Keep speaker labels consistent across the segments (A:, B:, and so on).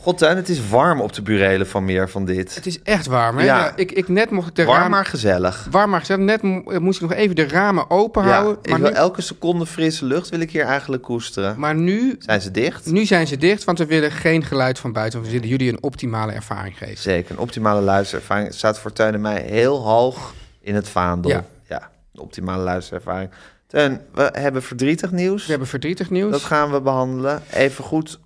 A: God, tuin, het is warm op de burelen van meer van dit.
B: Het is echt warm, hè?
A: Ja.
B: Ja. ik, ik net mocht ik de
A: Warm
B: ramen...
A: maar gezellig.
B: Warm maar gezet. Net mo- eh, moest ik nog even de ramen open
A: Ja,
B: houden.
A: ik
B: Maar
A: wil
B: nu,
A: elke seconde frisse lucht wil ik hier eigenlijk koesteren.
B: maar nu,
A: Zijn ze dicht?
B: nu zijn ze dicht, want we willen geen geluid van buiten. We willen jullie een optimale ervaring geven.
A: Zeker, een optimale luisterervaring staat voor Teun en mij heel hoog in het vaandel. Ja,
B: Ja.
A: een optimale luisterervaring. Teun, we hebben verdrietig nieuws.
B: We hebben verdrietig nieuws.
A: Dat gaan we behandelen. Even goed,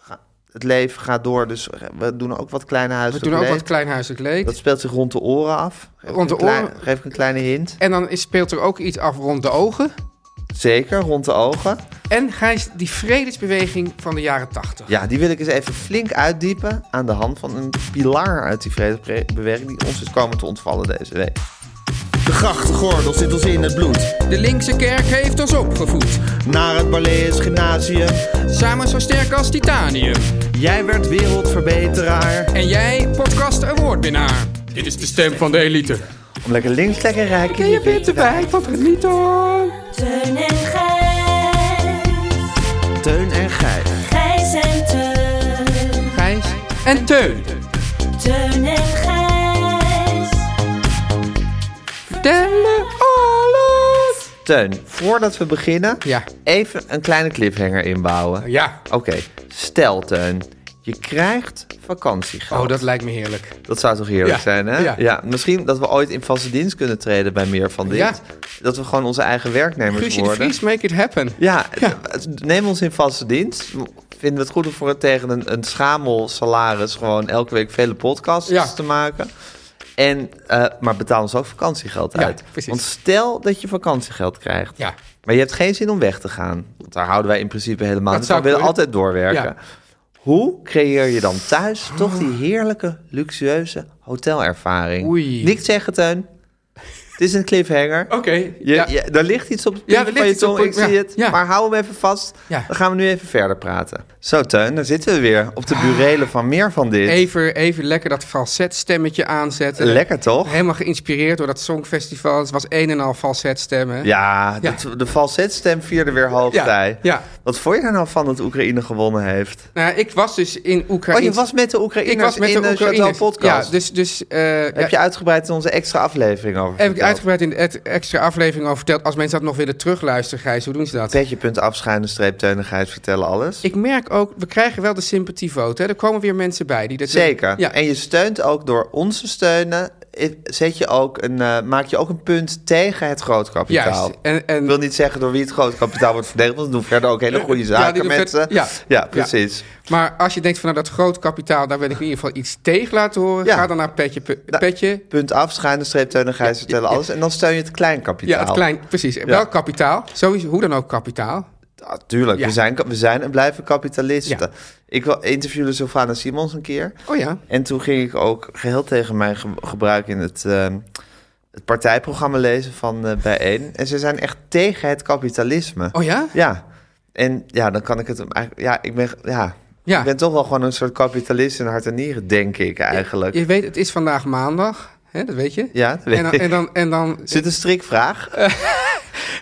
A: ga- het leven gaat door, dus we doen ook wat kleine
B: we
A: huiselijke
B: doen ook
A: leed.
B: wat kleinhuiselijk leed.
A: Dat speelt zich rond de oren af. Geef ik
B: Rond de
A: een klein-
B: oren?
A: Geef ik een kleine hint.
B: En dan is, speelt er ook iets af rond de ogen.
A: Zeker, rond de ogen.
B: En Gijs, die vredesbeweging van de jaren tachtig.
A: Ja, die wil ik eens even flink uitdiepen aan de hand van een pilaar uit die vredesbeweging die ons is komen te ontvallen deze week.
C: De grachtgordel zit ons in het bloed.
B: De linkse kerk heeft ons opgevoed.
C: Naar het Balees Gymnasium.
B: Samen zo sterk als titanium.
C: Jij werd wereldverbeteraar.
B: En jij, podcast awardwinnaar. Dit is de stem van de elite.
A: Om lekker links, lekker rijk in je witte wijk.
B: wat het niet hoor.
D: Teun en Gijs.
C: Teun en Gijs.
D: Gijs en Teun.
B: Gijs en Teun.
D: Teun en Gijs.
B: Vertellen alles.
A: Teun, voordat we beginnen,
B: Ja.
A: even een kleine cliffhanger inbouwen.
B: Ja.
A: Oké, stel Teun, je krijgt vakantiegeld.
B: Oh, dat lijkt me heerlijk.
A: Dat zou toch heerlijk
B: Ja,
A: zijn, hè? Ja.
B: ja.
A: Misschien dat we ooit in vaste dienst kunnen treden bij meer van dit.
B: Ja.
A: Dat we gewoon onze eigen werknemers
B: Guusje de
A: worden.
B: Vries, make it happen.
A: Ja, d- neem ons in vaste dienst. Vinden we het goed om voor tegen een, een schamel salaris gewoon elke week vele podcasts
B: Ja.
A: te maken. En, eh, maar betaal ons ook vakantiegeld
B: Ja,
A: uit.
B: precies.
A: Want stel dat je vakantiegeld krijgt.
B: Ja.
A: Maar je hebt geen zin om weg te gaan. Want daar houden wij in principe helemaal
B: Dat
A: niet
B: zou
A: van. We willen
B: kunnen.
A: altijd doorwerken.
B: Ja.
A: Hoe creëer je dan thuis toch die heerlijke, luxueuze hotelervaring?
B: Oei.
A: Niks zeggen, Teun. Het is een cliffhanger.
B: Oké.
A: Je,
B: ja.
A: je- daar ligt iets op het
B: Ja,
A: puntje
B: er
A: van
B: ligt
A: je
B: iets op
A: tong,
B: het
A: ik
B: punt-
A: zie
B: ja,
A: het.
B: ja.
A: Maar hou hem even vast.
B: Ja.
A: Dan gaan we nu even verder praten. Zo, Teun, daar zitten we weer. Op de burelen van meer van dit.
B: Ah. Even, eh, even lekker dat falsetstemmetje aanzetten.
A: Lekker, toch?
B: Helemaal geïnspireerd door dat songfestival. Het was een en al falsetstemmen.
A: Ja,
B: Ja.
A: De, de falsetstem vierde weer hoogtij.
B: Ja, ja.
A: Wat vond je daar nou van dat Oekraïne gewonnen heeft?
B: Nou, ja, ik was dus in
A: Oh,
B: Oekraïne.
A: je was met de Oekraïners
B: ik was met
A: in
B: de
A: Chateau
B: Oekraïners.
A: Podcast.
B: Ja, dus... dus eh, ja,
A: Heb je uitgebreid in onze extra aflevering over
B: Heb ik
A: verteld?
B: uitgebreid in de et- extra aflevering over verteld. Als mensen dat nog willen terugluisteren, Gijs, hoe doen ze dat?
A: Petje, punt, afschuine streep, teunigheid, vertellen alles.
B: Ik merk ook, we krijgen wel de sympathievote. Hè? Er komen weer mensen bij. Die dat
A: Zeker.
B: Ja,
A: En je steunt ook door ons te steunen. i- Zet je ook een, eh, maak je ook een punt tegen het grootkapitaal.
B: juist.
A: kapitaal.
B: En, en,
A: Ik wil niet zeggen door wie het grootkapitaal wordt verdedigd. Want dat doen verder ook hele goede zaken
B: Eh, die doen
A: mensen.
B: vet- ja.
A: ja, precies.
B: Maar als je denkt van nou, dat groot kapitaal, daar wil ik in ieder geval iets tegen laten horen.
A: Ja.
B: Ga dan naar Petje. Pe-
A: Da-
B: petje.
A: Punt af, schuine streep, teun en Gijs vertellen alles. En dan steun je het kleinkapitaal.
B: Ja, het klein, precies. Wel kapitaal. Sowieso, hoe dan ook kapitaal.
A: Ah, tuurlijk,
B: Ja.
A: we, zijn, ka- we zijn en blijven kapitalisten.
B: Ja.
A: Ik wa- interviewde Sylvana Simons een keer.
B: Oh ja.
A: En toen ging ik ook geheel tegen mijn ge- gebruik in het, ehm, het partijprogramma lezen van eh Bijeen. En ze zijn echt tegen het kapitalisme.
B: Oh ja?
A: Ja. En ja, dan kan ik het hem eigenlijk... Ja, ik ben, ja.
B: Ja.
A: ik ben toch wel gewoon een soort kapitalist in hart en nieren, denk ik eigenlijk.
B: Je weet, het is vandaag maandag. Hè, dat weet je.
A: Ja, dat weet
B: en dan, Eh.
A: ik.
B: En dan, en dan,
A: Zit een strikvraag?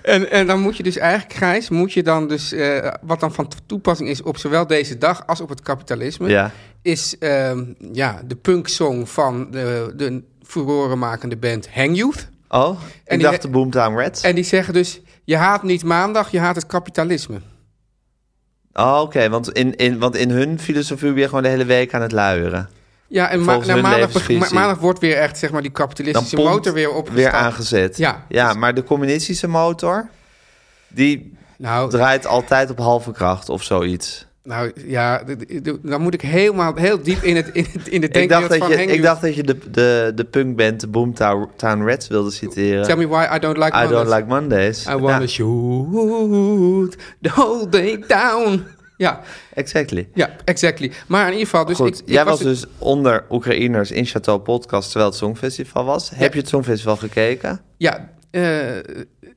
B: En, en dan moet je dus eigenlijk, Gijs, moet je dan dus, eh, wat dan van toepassing is op zowel deze dag als op het kapitalisme,
A: Ja.
B: is ehm, ja, de punksong van de, de furorenmakende band Hang Youth.
A: Oh, ik
B: die
A: dacht
B: he-
A: de Boomtown Reds.
B: En die zeggen dus, je haat niet maandag, je haat het kapitalisme.
A: Oh, oké, want, in, in, want in hun filosofie ben je gewoon de hele week aan het luieren.
B: Ja, en ma
A: Volgens
B: nou,
A: hun
B: maandag, beg-
A: levensvisie.
B: ma- maandag wordt weer echt zeg maar, die
A: Dan
B: kapitalistische
A: pompt
B: motor weer opgestart.
A: Weer aangezet.
B: Ja.
A: ja, maar de communistische motor, die
B: Nou,
A: draait altijd op halve kracht of zoiets.
B: nou ja, d- d- d- dan moet ik helemaal heel diep in het, in het, in het
A: Ik dacht,
B: denkbeeld
A: dat
B: van
A: je,
B: Henry-
A: ik dacht dat je de, de, de punkband de Boomtown Reds wilde citeren.
B: Tell me why I don't like
A: I don't
B: Mondays.
A: like Mondays.
B: I wanna
A: Ja,
B: shoot the whole day down. Ja,
A: exactly.
B: ja, exactly. Maar in ieder geval, dus
A: Goed,
B: ik, ik
A: jij was
B: het-
A: dus onder Oekraïners in Chateau Podcast terwijl het Songfestival was. Heb je het Songfestival gekeken?
B: Ja, eh,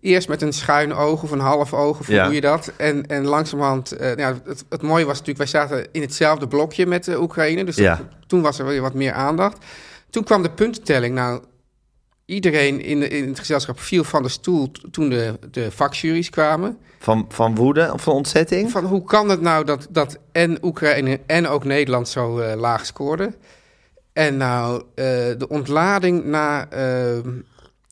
B: eerst met een schuin oog of een half oog, of hoe
A: Ja.
B: doe je dat? En, en langzamerhand, eh, nou ja, het, het mooie was natuurlijk, wij zaten in hetzelfde blokje met de Oekraïne. Dus
A: Ja.
B: dat- toen was er weer wat meer aandacht. Toen kwam de puntentelling. Nou, iedereen in, de- in het gezelschap viel van de stoel t- toen de, de vakjuries kwamen.
A: Van, van woede of van ontzetting?
B: Van hoe kan het nou dat, dat en Oekraïne en ook Nederland zo eh, laag scoorden? En nou, eh, de ontlading na, eh,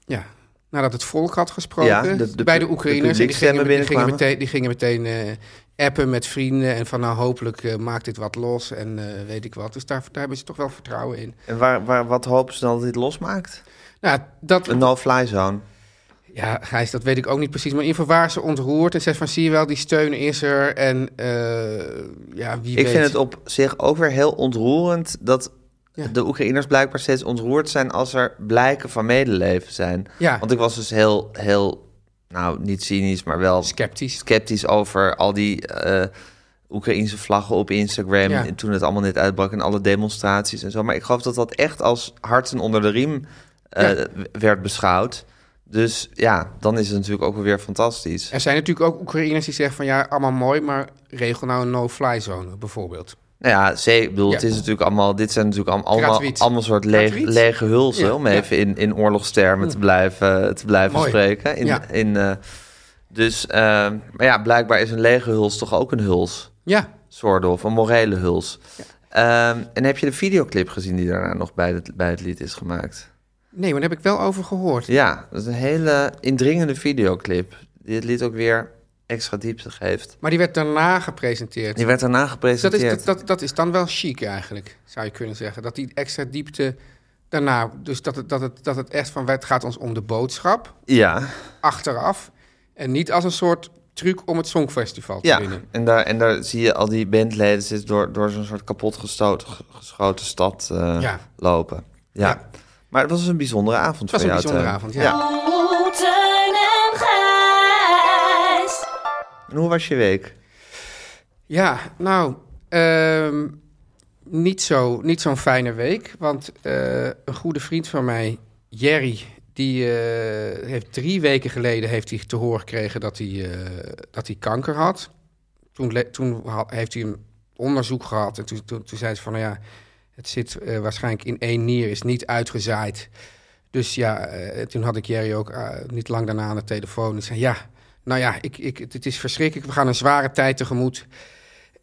B: ja, nadat het volk had gesproken
A: Ja, de- de
B: bij de
A: pu-
B: Oekraïners.
A: de
B: en die gingen, die gingen
A: publieksstemmen
B: meteen, die gingen meteen eh, appen met vrienden en van nou hopelijk eh, maakt dit wat los en eh, weet ik wat. Dus daar, daar hebben ze toch wel vertrouwen in.
A: En waar, waar, wat hopen ze dan dat dit losmaakt?
B: Nou, dat,
A: Een no-fly zone.
B: Ja, Gijs, dat weet ik ook niet precies. Maar in ieder geval waren ze ontroerd en zei van... zie je wel, die steun is er en eh, ja, wie
A: Ik
B: weet.
A: vind het op zich ook weer heel ontroerend dat
B: Ja.
A: de Oekraïners blijkbaar steeds ontroerd zijn als er blijken van medeleven zijn.
B: Ja.
A: Want ik was dus heel, heel, nou niet cynisch, maar wel
B: Sceptisch.
A: sceptisch over al die eh Oekraïnse vlaggen op Instagram.
B: Ja.
A: En toen het allemaal net uitbrak en alle demonstraties en zo. Maar ik geloof dat dat echt als harten onder de riem eh,
B: Ja.
A: werd beschouwd. Dus ja, dan is het natuurlijk ook wel weer fantastisch.
B: Er zijn natuurlijk ook Oekraïners die zeggen van... ja, allemaal mooi, maar regel nou een no-fly zone bijvoorbeeld.
A: Nou ja, C, ik bedoel,
B: Ja.
A: het is natuurlijk allemaal, dit zijn natuurlijk allemaal, allemaal,
B: Gratuit.
A: allemaal soort leeg-
B: Gratuit.
A: lege hulzen,
B: Ja,
A: om
B: ja.
A: even in, in oorlogstermen te blijven, te blijven
B: Mooi.
A: spreken. In,
B: Ja.
A: in, eh, dus, eh, maar ja, blijkbaar is een lege huls toch ook een huls,
B: Ja,
A: soort of, een morele huls. Ehm, en heb je de videoclip gezien die daarna nog bij het, bij het lied is gemaakt?
B: nee, maar daar heb ik wel over gehoord.
A: Ja, dat is een hele indringende videoclip, die het lied ook weer extra diepte geeft.
B: Maar die werd daarna gepresenteerd. Dus
A: Die werd daarna
B: dat,
A: gepresenteerd.
B: is, dat, dat, dat is dan wel chic eigenlijk, zou je kunnen zeggen. Dat die extra diepte daarna... dus dat het, dat het, dat het echt van... het gaat ons om de boodschap
A: Ja.
B: achteraf... en niet als een soort truc om het Songfestival te
A: Ja,
B: winnen.
A: en daar, en daar zie je al die bandleden zitten door, door zo'n soort kapotgestoten ge- geschoten stad eh,
B: Ja.
A: lopen. Ja.
B: Ja.
A: Maar het was een bijzondere avond
B: Het was
A: voor jou.
B: een bijzondere
A: Teun.
B: avond, ja.
D: Oh, Teun en Gijs.
A: En hoe was je week?
B: Ja, nou, ehm, niet zo'n niet zo'n fijne week. Want eh, een goede vriend van mij, Jerry, die eh, heeft drie weken geleden heeft hij te horen gekregen dat hij, eh, dat hij kanker had. Toen, le- toen ha- heeft hij een onderzoek gehad en toen, toen, toen zei ze van, nou ja, het zit eh, waarschijnlijk in één nier, is niet uitgezaaid. Dus ja, eh, toen had ik Jerry ook eh, niet lang daarna aan de telefoon. Ik zei, ja, nou ja, ik, ik, het- het is verschrikkelijk. We gaan een zware tijd tegemoet.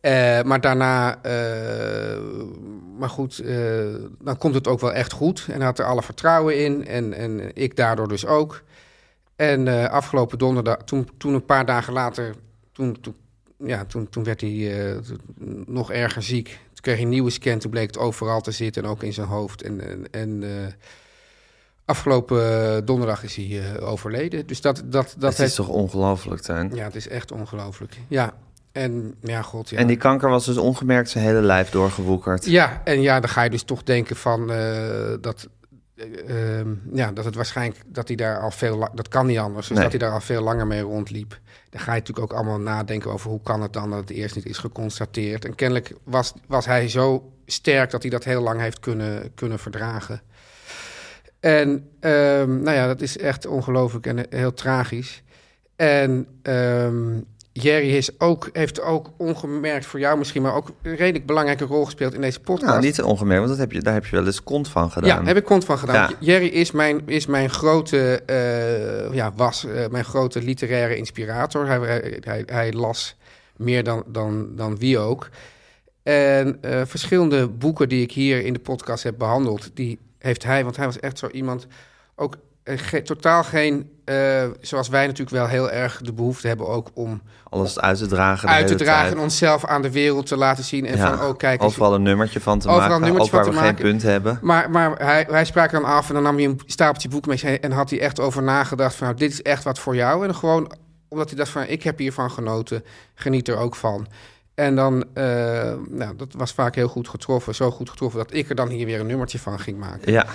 B: Eh, maar daarna, eh, maar goed, eh, dan komt het ook wel echt goed. En hij had er alle vertrouwen in. En, en ik daardoor dus ook. En eh, afgelopen donderdag, toen, toen een paar dagen later, toen, toen, ja, toen, toen werd hij eh, nog erger ziek. Toen kreeg hij een nieuwe scan, toen bleek het overal te zitten en ook in zijn hoofd. En, en, en eh, afgelopen donderdag is hij eh, overleden. Dus dat, dat, dat
A: Dat is toch ongelooflijk, Teun?
B: ja, het is echt ongelooflijk. Ja, en ja, god. Ja.
A: En die kanker was dus ongemerkt zijn hele lijf doorgewoekerd.
B: ja, en ja, dan ga je dus toch denken van eh, dat. eh, ehm, ja, dat het waarschijnlijk dat hij daar al veel la- dat kan niet anders, dus
A: Nee.
B: dat hij daar al veel langer mee rondliep. Dan ga je natuurlijk ook allemaal nadenken over hoe kan het dan dat het eerst niet is geconstateerd. En kennelijk was, was hij zo sterk dat hij dat heel lang heeft kunnen, kunnen verdragen. En ehm, nou ja, dat is echt ongelooflijk en eh, heel tragisch. En ehm, Jerry is ook, heeft ook ongemerkt voor jou misschien, maar ook een redelijk belangrijke rol gespeeld in deze podcast.
A: Nou, niet ongemerkt, want dat heb je, daar heb je wel eens kont van gedaan.
B: Ja, heb ik kont van gedaan.
A: Ja.
B: Jerry is mijn, is mijn grote, eh, ja, was eh, mijn grote literaire inspirator. Hij, hij, hij, hij las meer dan, dan, dan wie ook. En eh, verschillende boeken die ik hier in de podcast heb behandeld, die heeft hij, want hij was echt zo iemand, ook eh, eh, ge- totaal geen, eh, zoals wij natuurlijk wel heel erg de behoefte hebben ook om
A: Alles uit te dragen. de
B: uit te
A: hele
B: dragen
A: tijd.
B: en onszelf aan de wereld te laten zien. En
A: Ja,
B: van, oh kijk, eens-
A: overal een nummertje van te
B: Overal een
A: maken. Ook
B: nummertje
A: waar we
B: van te
A: geen
B: maken.
A: punt hebben.
B: Maar, maar hij, hij sprak dan af en dan nam hij een stapeltje boeken mee zich heen en had hij echt over nagedacht van nou, dit is echt wat voor jou. En gewoon omdat hij dacht van ik heb hiervan genoten, geniet er ook van. En dan, eh, nou, dat was vaak heel goed getroffen. Zo goed getroffen dat ik er dan hier weer een nummertje van ging maken.
A: Ja.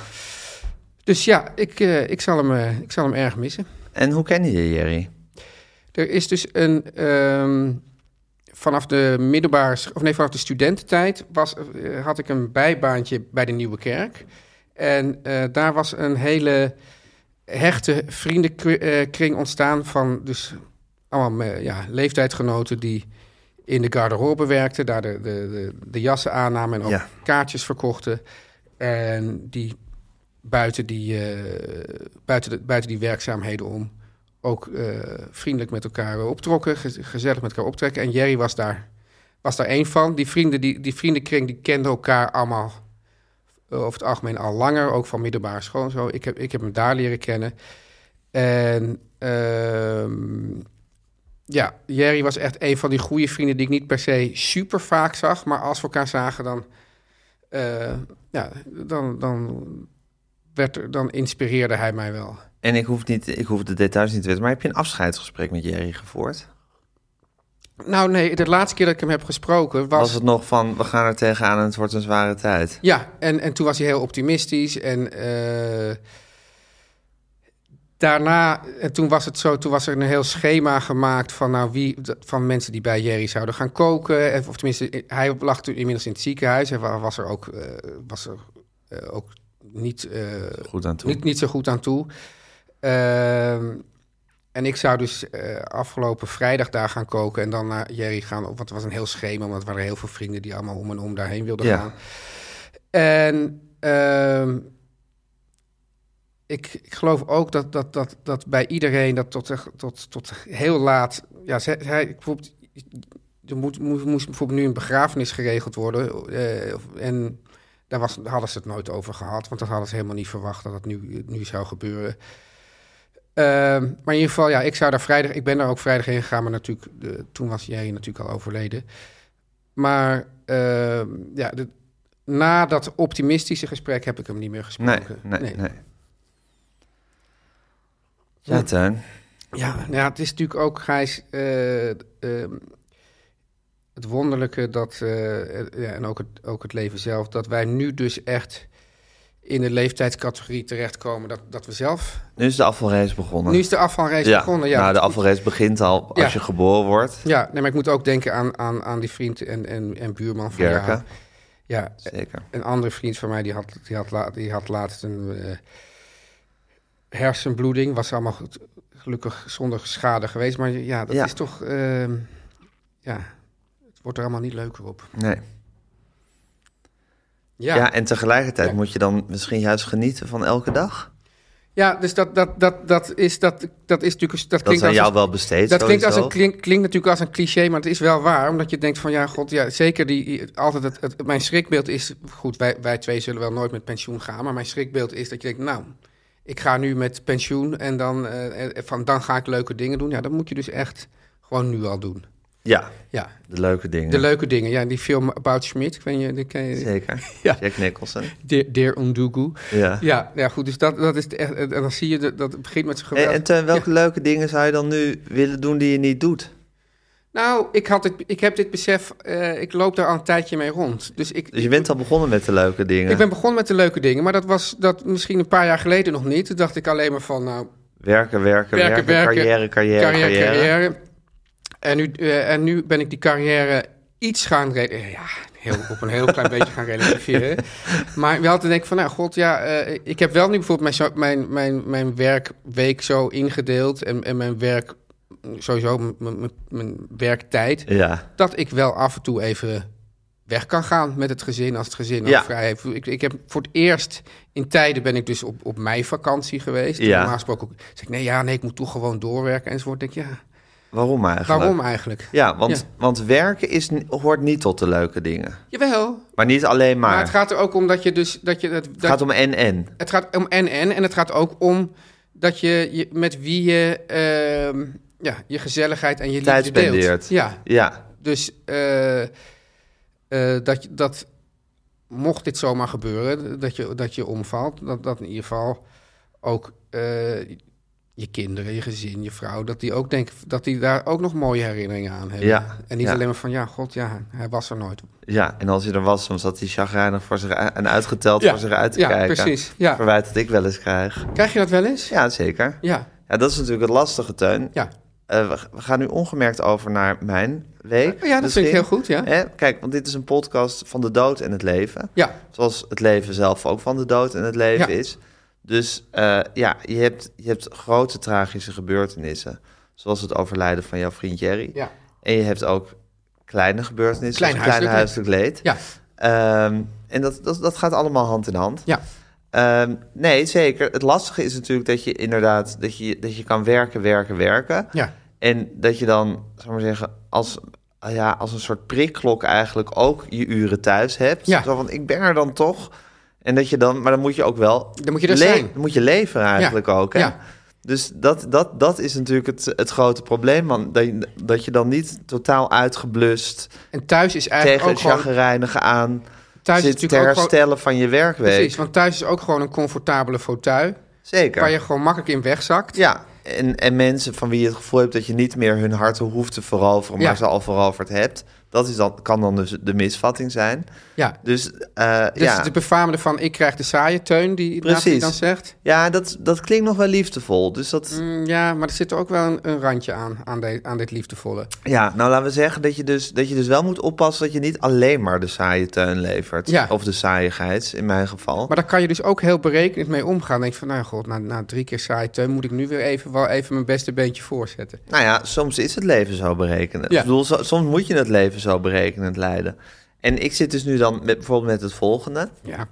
B: Dus ja, ik, eh, ik, zal, hem, eh, ik zal hem erg missen.
A: En hoe kende je Jerry?
B: Er is dus een. ehm, vanaf de middelbare. sch- of nee, vanaf de studententijd. Was, eh, had ik een bijbaantje bij de Nieuwe Kerk. En eh, daar was een hele hechte vriendenkring ontstaan. van dus allemaal eh, ja, leeftijdgenoten die in de garderobe werkten. daar de, de, de, de jassen aannamen en ook
A: Ja.
B: kaartjes verkochten. En die buiten die, eh, buiten, de, buiten die werkzaamheden om ook eh, vriendelijk met elkaar optrokken, gez- gezellig met elkaar optrekken. En Jerry was daar, was daar één van. Die, vrienden, die, die vriendenkring die kenden elkaar allemaal eh, over het algemeen al langer, ook van middelbare school en zo. Ik heb, ik heb hem daar leren kennen. En ehm, ja, Jerry was echt een van die goede vrienden die ik niet per se super vaak zag. Maar als we elkaar zagen, dan, eh, ja, dan, dan, werd er, dan inspireerde hij mij wel.
A: En ik hoef, niet, ik hoef de details niet te weten, maar heb je een afscheidsgesprek met Jerry gevoerd?
B: Nou nee, de laatste keer dat ik hem heb gesproken was...
A: Was het nog van, we gaan er tegenaan en het wordt een zware tijd?
B: Ja, en, en toen was hij heel optimistisch. En eh, daarna, en toen was het zo, toen was er een heel schema gemaakt van, nou, wie, d- van mensen die bij Jerry zouden gaan koken. En- Of tenminste, eh, hij lag toen inmiddels in het ziekenhuis en wa- was er ook, eh, was er, eh, ook niet, eh,
A: Goed aan toe.
B: niet, niet zo goed aan toe. Ehm, en ik zou dus eh, afgelopen vrijdag daar gaan koken en dan naar Jerry gaan. Want het was een heel schema, want er waren heel veel vrienden die allemaal om en om daarheen wilden
A: Ja.
B: gaan. En ehm, ik, ik geloof ook dat, dat, dat, dat bij iedereen dat tot, eh, tot, tot heel laat. Ja, ze- hij, bijvoorbeeld, er moet, moest, moest bijvoorbeeld nu een begrafenis geregeld worden. eh, of- en daar was, hadden ze het nooit over gehad, want dat hadden ze helemaal niet verwacht dat dat nu, nu zou gebeuren. Ehm, maar in ieder geval, ja, ik zou daar vrijdag, ik ben daar ook vrijdag heen gegaan, maar natuurlijk, eh, toen was jij natuurlijk al overleden. Maar ehm, ja, de- na dat optimistische gesprek heb ik hem niet meer
A: Nee,
B: gesproken.
A: nee, nee. Ja, Teun.
B: Ja, nou ja, het is natuurlijk ook, Gijs, eh, ehm, het wonderlijke dat, eh, eh, ja, en ook het, ook het leven zelf, dat wij nu dus echt in de leeftijdscategorie terechtkomen dat, dat we zelf...
A: Nu is de afvalrace begonnen.
B: Nu is de afvalrace
A: ja.
B: begonnen. Ja,
A: nou, de
B: dat-
A: afvalrace begint al als
B: Ja.
A: je geboren wordt.
B: ja nee, maar ik moet ook denken aan, aan, aan die vriend en, en, en buurman van
A: Gerke.
B: jou. Ja,
A: Zeker.
B: een andere vriend van mij die had, die had, la- die had laatst een eh, hersenbloeding. Was allemaal goed- gelukkig zonder schade geweest. Maar ja, dat
A: Ja.
B: is toch. ehm, ja, het wordt er allemaal niet leuker op.
A: Nee.
B: Ja,
A: Ja.
B: ja,
A: en tegelijkertijd
B: Ja.
A: moet je dan misschien juist genieten van elke dag.
B: dus dat, dat, dat, dat, is, dat, dat is natuurlijk. een-
A: Dat
B: Dat
A: is
B: klinkt
A: aan
B: als
A: jou
B: een-
A: wel besteed.
B: Dat klinkt, als
A: sowieso.
B: een, klink- klinkt natuurlijk als een cliché, maar het is wel waar. Omdat je denkt van, ja, god, ja, zeker die, altijd het, het- mijn schrikbeeld is... Goed, wij, wij twee zullen wel nooit met pensioen gaan, maar mijn schrikbeeld is dat je denkt, nou... Ik ga nu met pensioen en dan, eh, eh, van, dan ga ik leuke dingen doen. Ja, dat moet je dus echt gewoon nu al doen.
A: Ja,
B: Ja,
A: de leuke dingen.
B: de leuke dingen. Ja, die film About Schmidt, ik weet niet, die ken je...
A: Zeker.
B: Ja.
A: Jack Nicholson.
B: Dear, Dear Undogu.
A: Ja.
B: Ja, ja, goed, dus dat, dat is echt... En dan zie je, dat, dat het begint met zijn
A: En,
B: geweld.
A: Eh, en Teun, welke leuke dingen zou je dan nu willen doen die je niet doet?
B: Nou, ik, had het, ik heb dit besef, eh, ik loop daar al een tijdje mee rond. Dus ik,
A: Dus je bent al begonnen met de leuke dingen.
B: ik ben begonnen met de leuke dingen, maar dat was dat misschien een paar jaar geleden nog niet. Toen dacht ik alleen maar van, nou,
A: Werken, werken, werken,
B: Werken, werken.
A: carrière, carrière,
B: carrière,
A: carrière.
B: carrière. En, nu, eh, en nu ben ik die carrière iets gaan... re- eh, Ja, heel, op een heel klein beetje gaan relativeren. Maar wel te denken van, nou god, ja, eh, ik heb wel nu bijvoorbeeld mijn, zo- mijn, mijn, mijn werkweek zo ingedeeld... en, en mijn werk, mm, sowieso m- m- m- mijn werktijd...
A: Ja,
B: dat ik wel af en toe even weg kan gaan met het gezin als het gezin
A: Ja.
B: ook vrij heeft. Ik, ik heb voor het eerst in tijden ben ik dus op, op mijn vakantie geweest.
A: Ja.
B: Normaal gesproken ook, zeg ik nee, ja, nee, ik moet toch gewoon doorwerken enzovoort. Denk ik, ja,
A: waarom eigenlijk?
B: waarom eigenlijk?
A: Ja, want,
B: Ja.
A: want werken is, n- hoort niet tot de leuke dingen.
B: Jawel,
A: Maar niet alleen maar.
B: maar het gaat er ook om dat je dus dat je dat, dat
A: Het gaat om en-en.
B: het gaat om en en en het gaat ook om dat je, je met wie je ehm, ja, je gezelligheid en je liefde
A: Tijd
B: deelt.
A: spendeert.
B: Ja,
A: Ja,
B: dus eh, eh, dat, je- dat mocht dit zomaar gebeuren, dat je, dat je omvalt, dat, dat in ieder geval ook eh, je kinderen, je gezin, je vrouw, dat die ook denken dat die daar ook nog mooie herinneringen aan hebben.
A: Ja,
B: en niet
A: ja.
B: alleen maar van ja, god ja, hij was er nooit.
A: ja, en als hij er was, dan zat hij chagrijnig voor zich uit- en uitgeteld voor zich uit te
B: ja,
A: kijken.
B: precies. Ja.
A: Verwijt dat ik wel eens krijg.
B: Krijg je dat wel eens?
A: Ja, zeker.
B: Ja.
A: Ja, dat is natuurlijk het lastige, Teun.
B: ja.
A: Eh, we, we gaan nu ongemerkt over naar mijn week.
B: Ja, dat vind ik
A: misschien.
B: heel goed, ja.
A: Hè? Kijk, want dit is een podcast van de dood en het leven.
B: Ja,
A: Zoals het leven zelf ook van de dood en het leven
B: Ja.
A: is. Dus eh, ja, je hebt, je hebt grote tragische gebeurtenissen. Zoals het overlijden van jouw vriend Jerry.
B: ja,
A: En je hebt ook kleine gebeurtenissen.
B: Klein
A: Klein kleine
B: huiselijk
A: huiselijk leed.
B: ja,
A: Ehm, en dat, dat, dat gaat allemaal hand in hand.
B: ja.
A: Ehm, nee, zeker. Het lastige is natuurlijk dat je inderdaad... dat je, dat je kan werken, werken, werken.
B: ja.
A: En dat je dan, zou ik maar zeggen, als, ja, als een soort prikklok eigenlijk ook je uren thuis hebt.
B: Ja.
A: Zo van, ik ben er dan toch. En dat je dan, maar dan moet je ook wel...
B: Dan moet je er
A: le-
B: zijn.
A: Dan moet je leveren eigenlijk
B: Ja,
A: ook, hè?
B: ja.
A: Dus dat, dat, dat is natuurlijk het, het grote probleem, man. Dat je, dat je dan niet totaal uitgeblust
B: En thuis is eigenlijk
A: tegen het
B: ook gewoon...
A: chagrijnige aan
B: Thuis is
A: zit te
B: natuurlijk ook gewoon-
A: herstellen van je werkweek.
B: Precies, want thuis is ook gewoon een comfortabele fauteuil...
A: Zeker.
B: waar je gewoon makkelijk in wegzakt.
A: Ja, en, en mensen van wie je het gevoel hebt dat je niet meer hun harten hoeft te veroveren, maar
B: Ja.
A: ze al veroverd hebt. Dat is dan, kan dan dus de misvatting zijn.
B: Ja.
A: Dus, eh,
B: Dus
A: ja.
B: de befaamde van ik krijg de saaie teun, die Nathalie
A: Precies.
B: dan zegt.
A: ja, dat, dat klinkt nog wel liefdevol. Dus dat,
B: Mm, ja, maar er zit ook wel een, een randje aan, aan, de- aan dit liefdevolle.
A: ja, nou laten we zeggen dat je, dus, dat je dus wel moet oppassen dat je niet alleen maar de saaie teun levert.
B: Ja.
A: Of de saaiigheid, in mijn geval.
B: Maar daar kan je dus ook heel berekenend mee omgaan. Denk van, nou ja, god, na, na drie keer saaie teun moet ik nu weer even, wel even mijn beste beentje voorzetten.
A: Nou ja, soms is het leven zo berekenend.
B: Ja.
A: Ik bedoel, so- soms moet je het leven zo berekenend leiden. En ik zit dus nu dan met, bijvoorbeeld met het volgende.
B: Ja,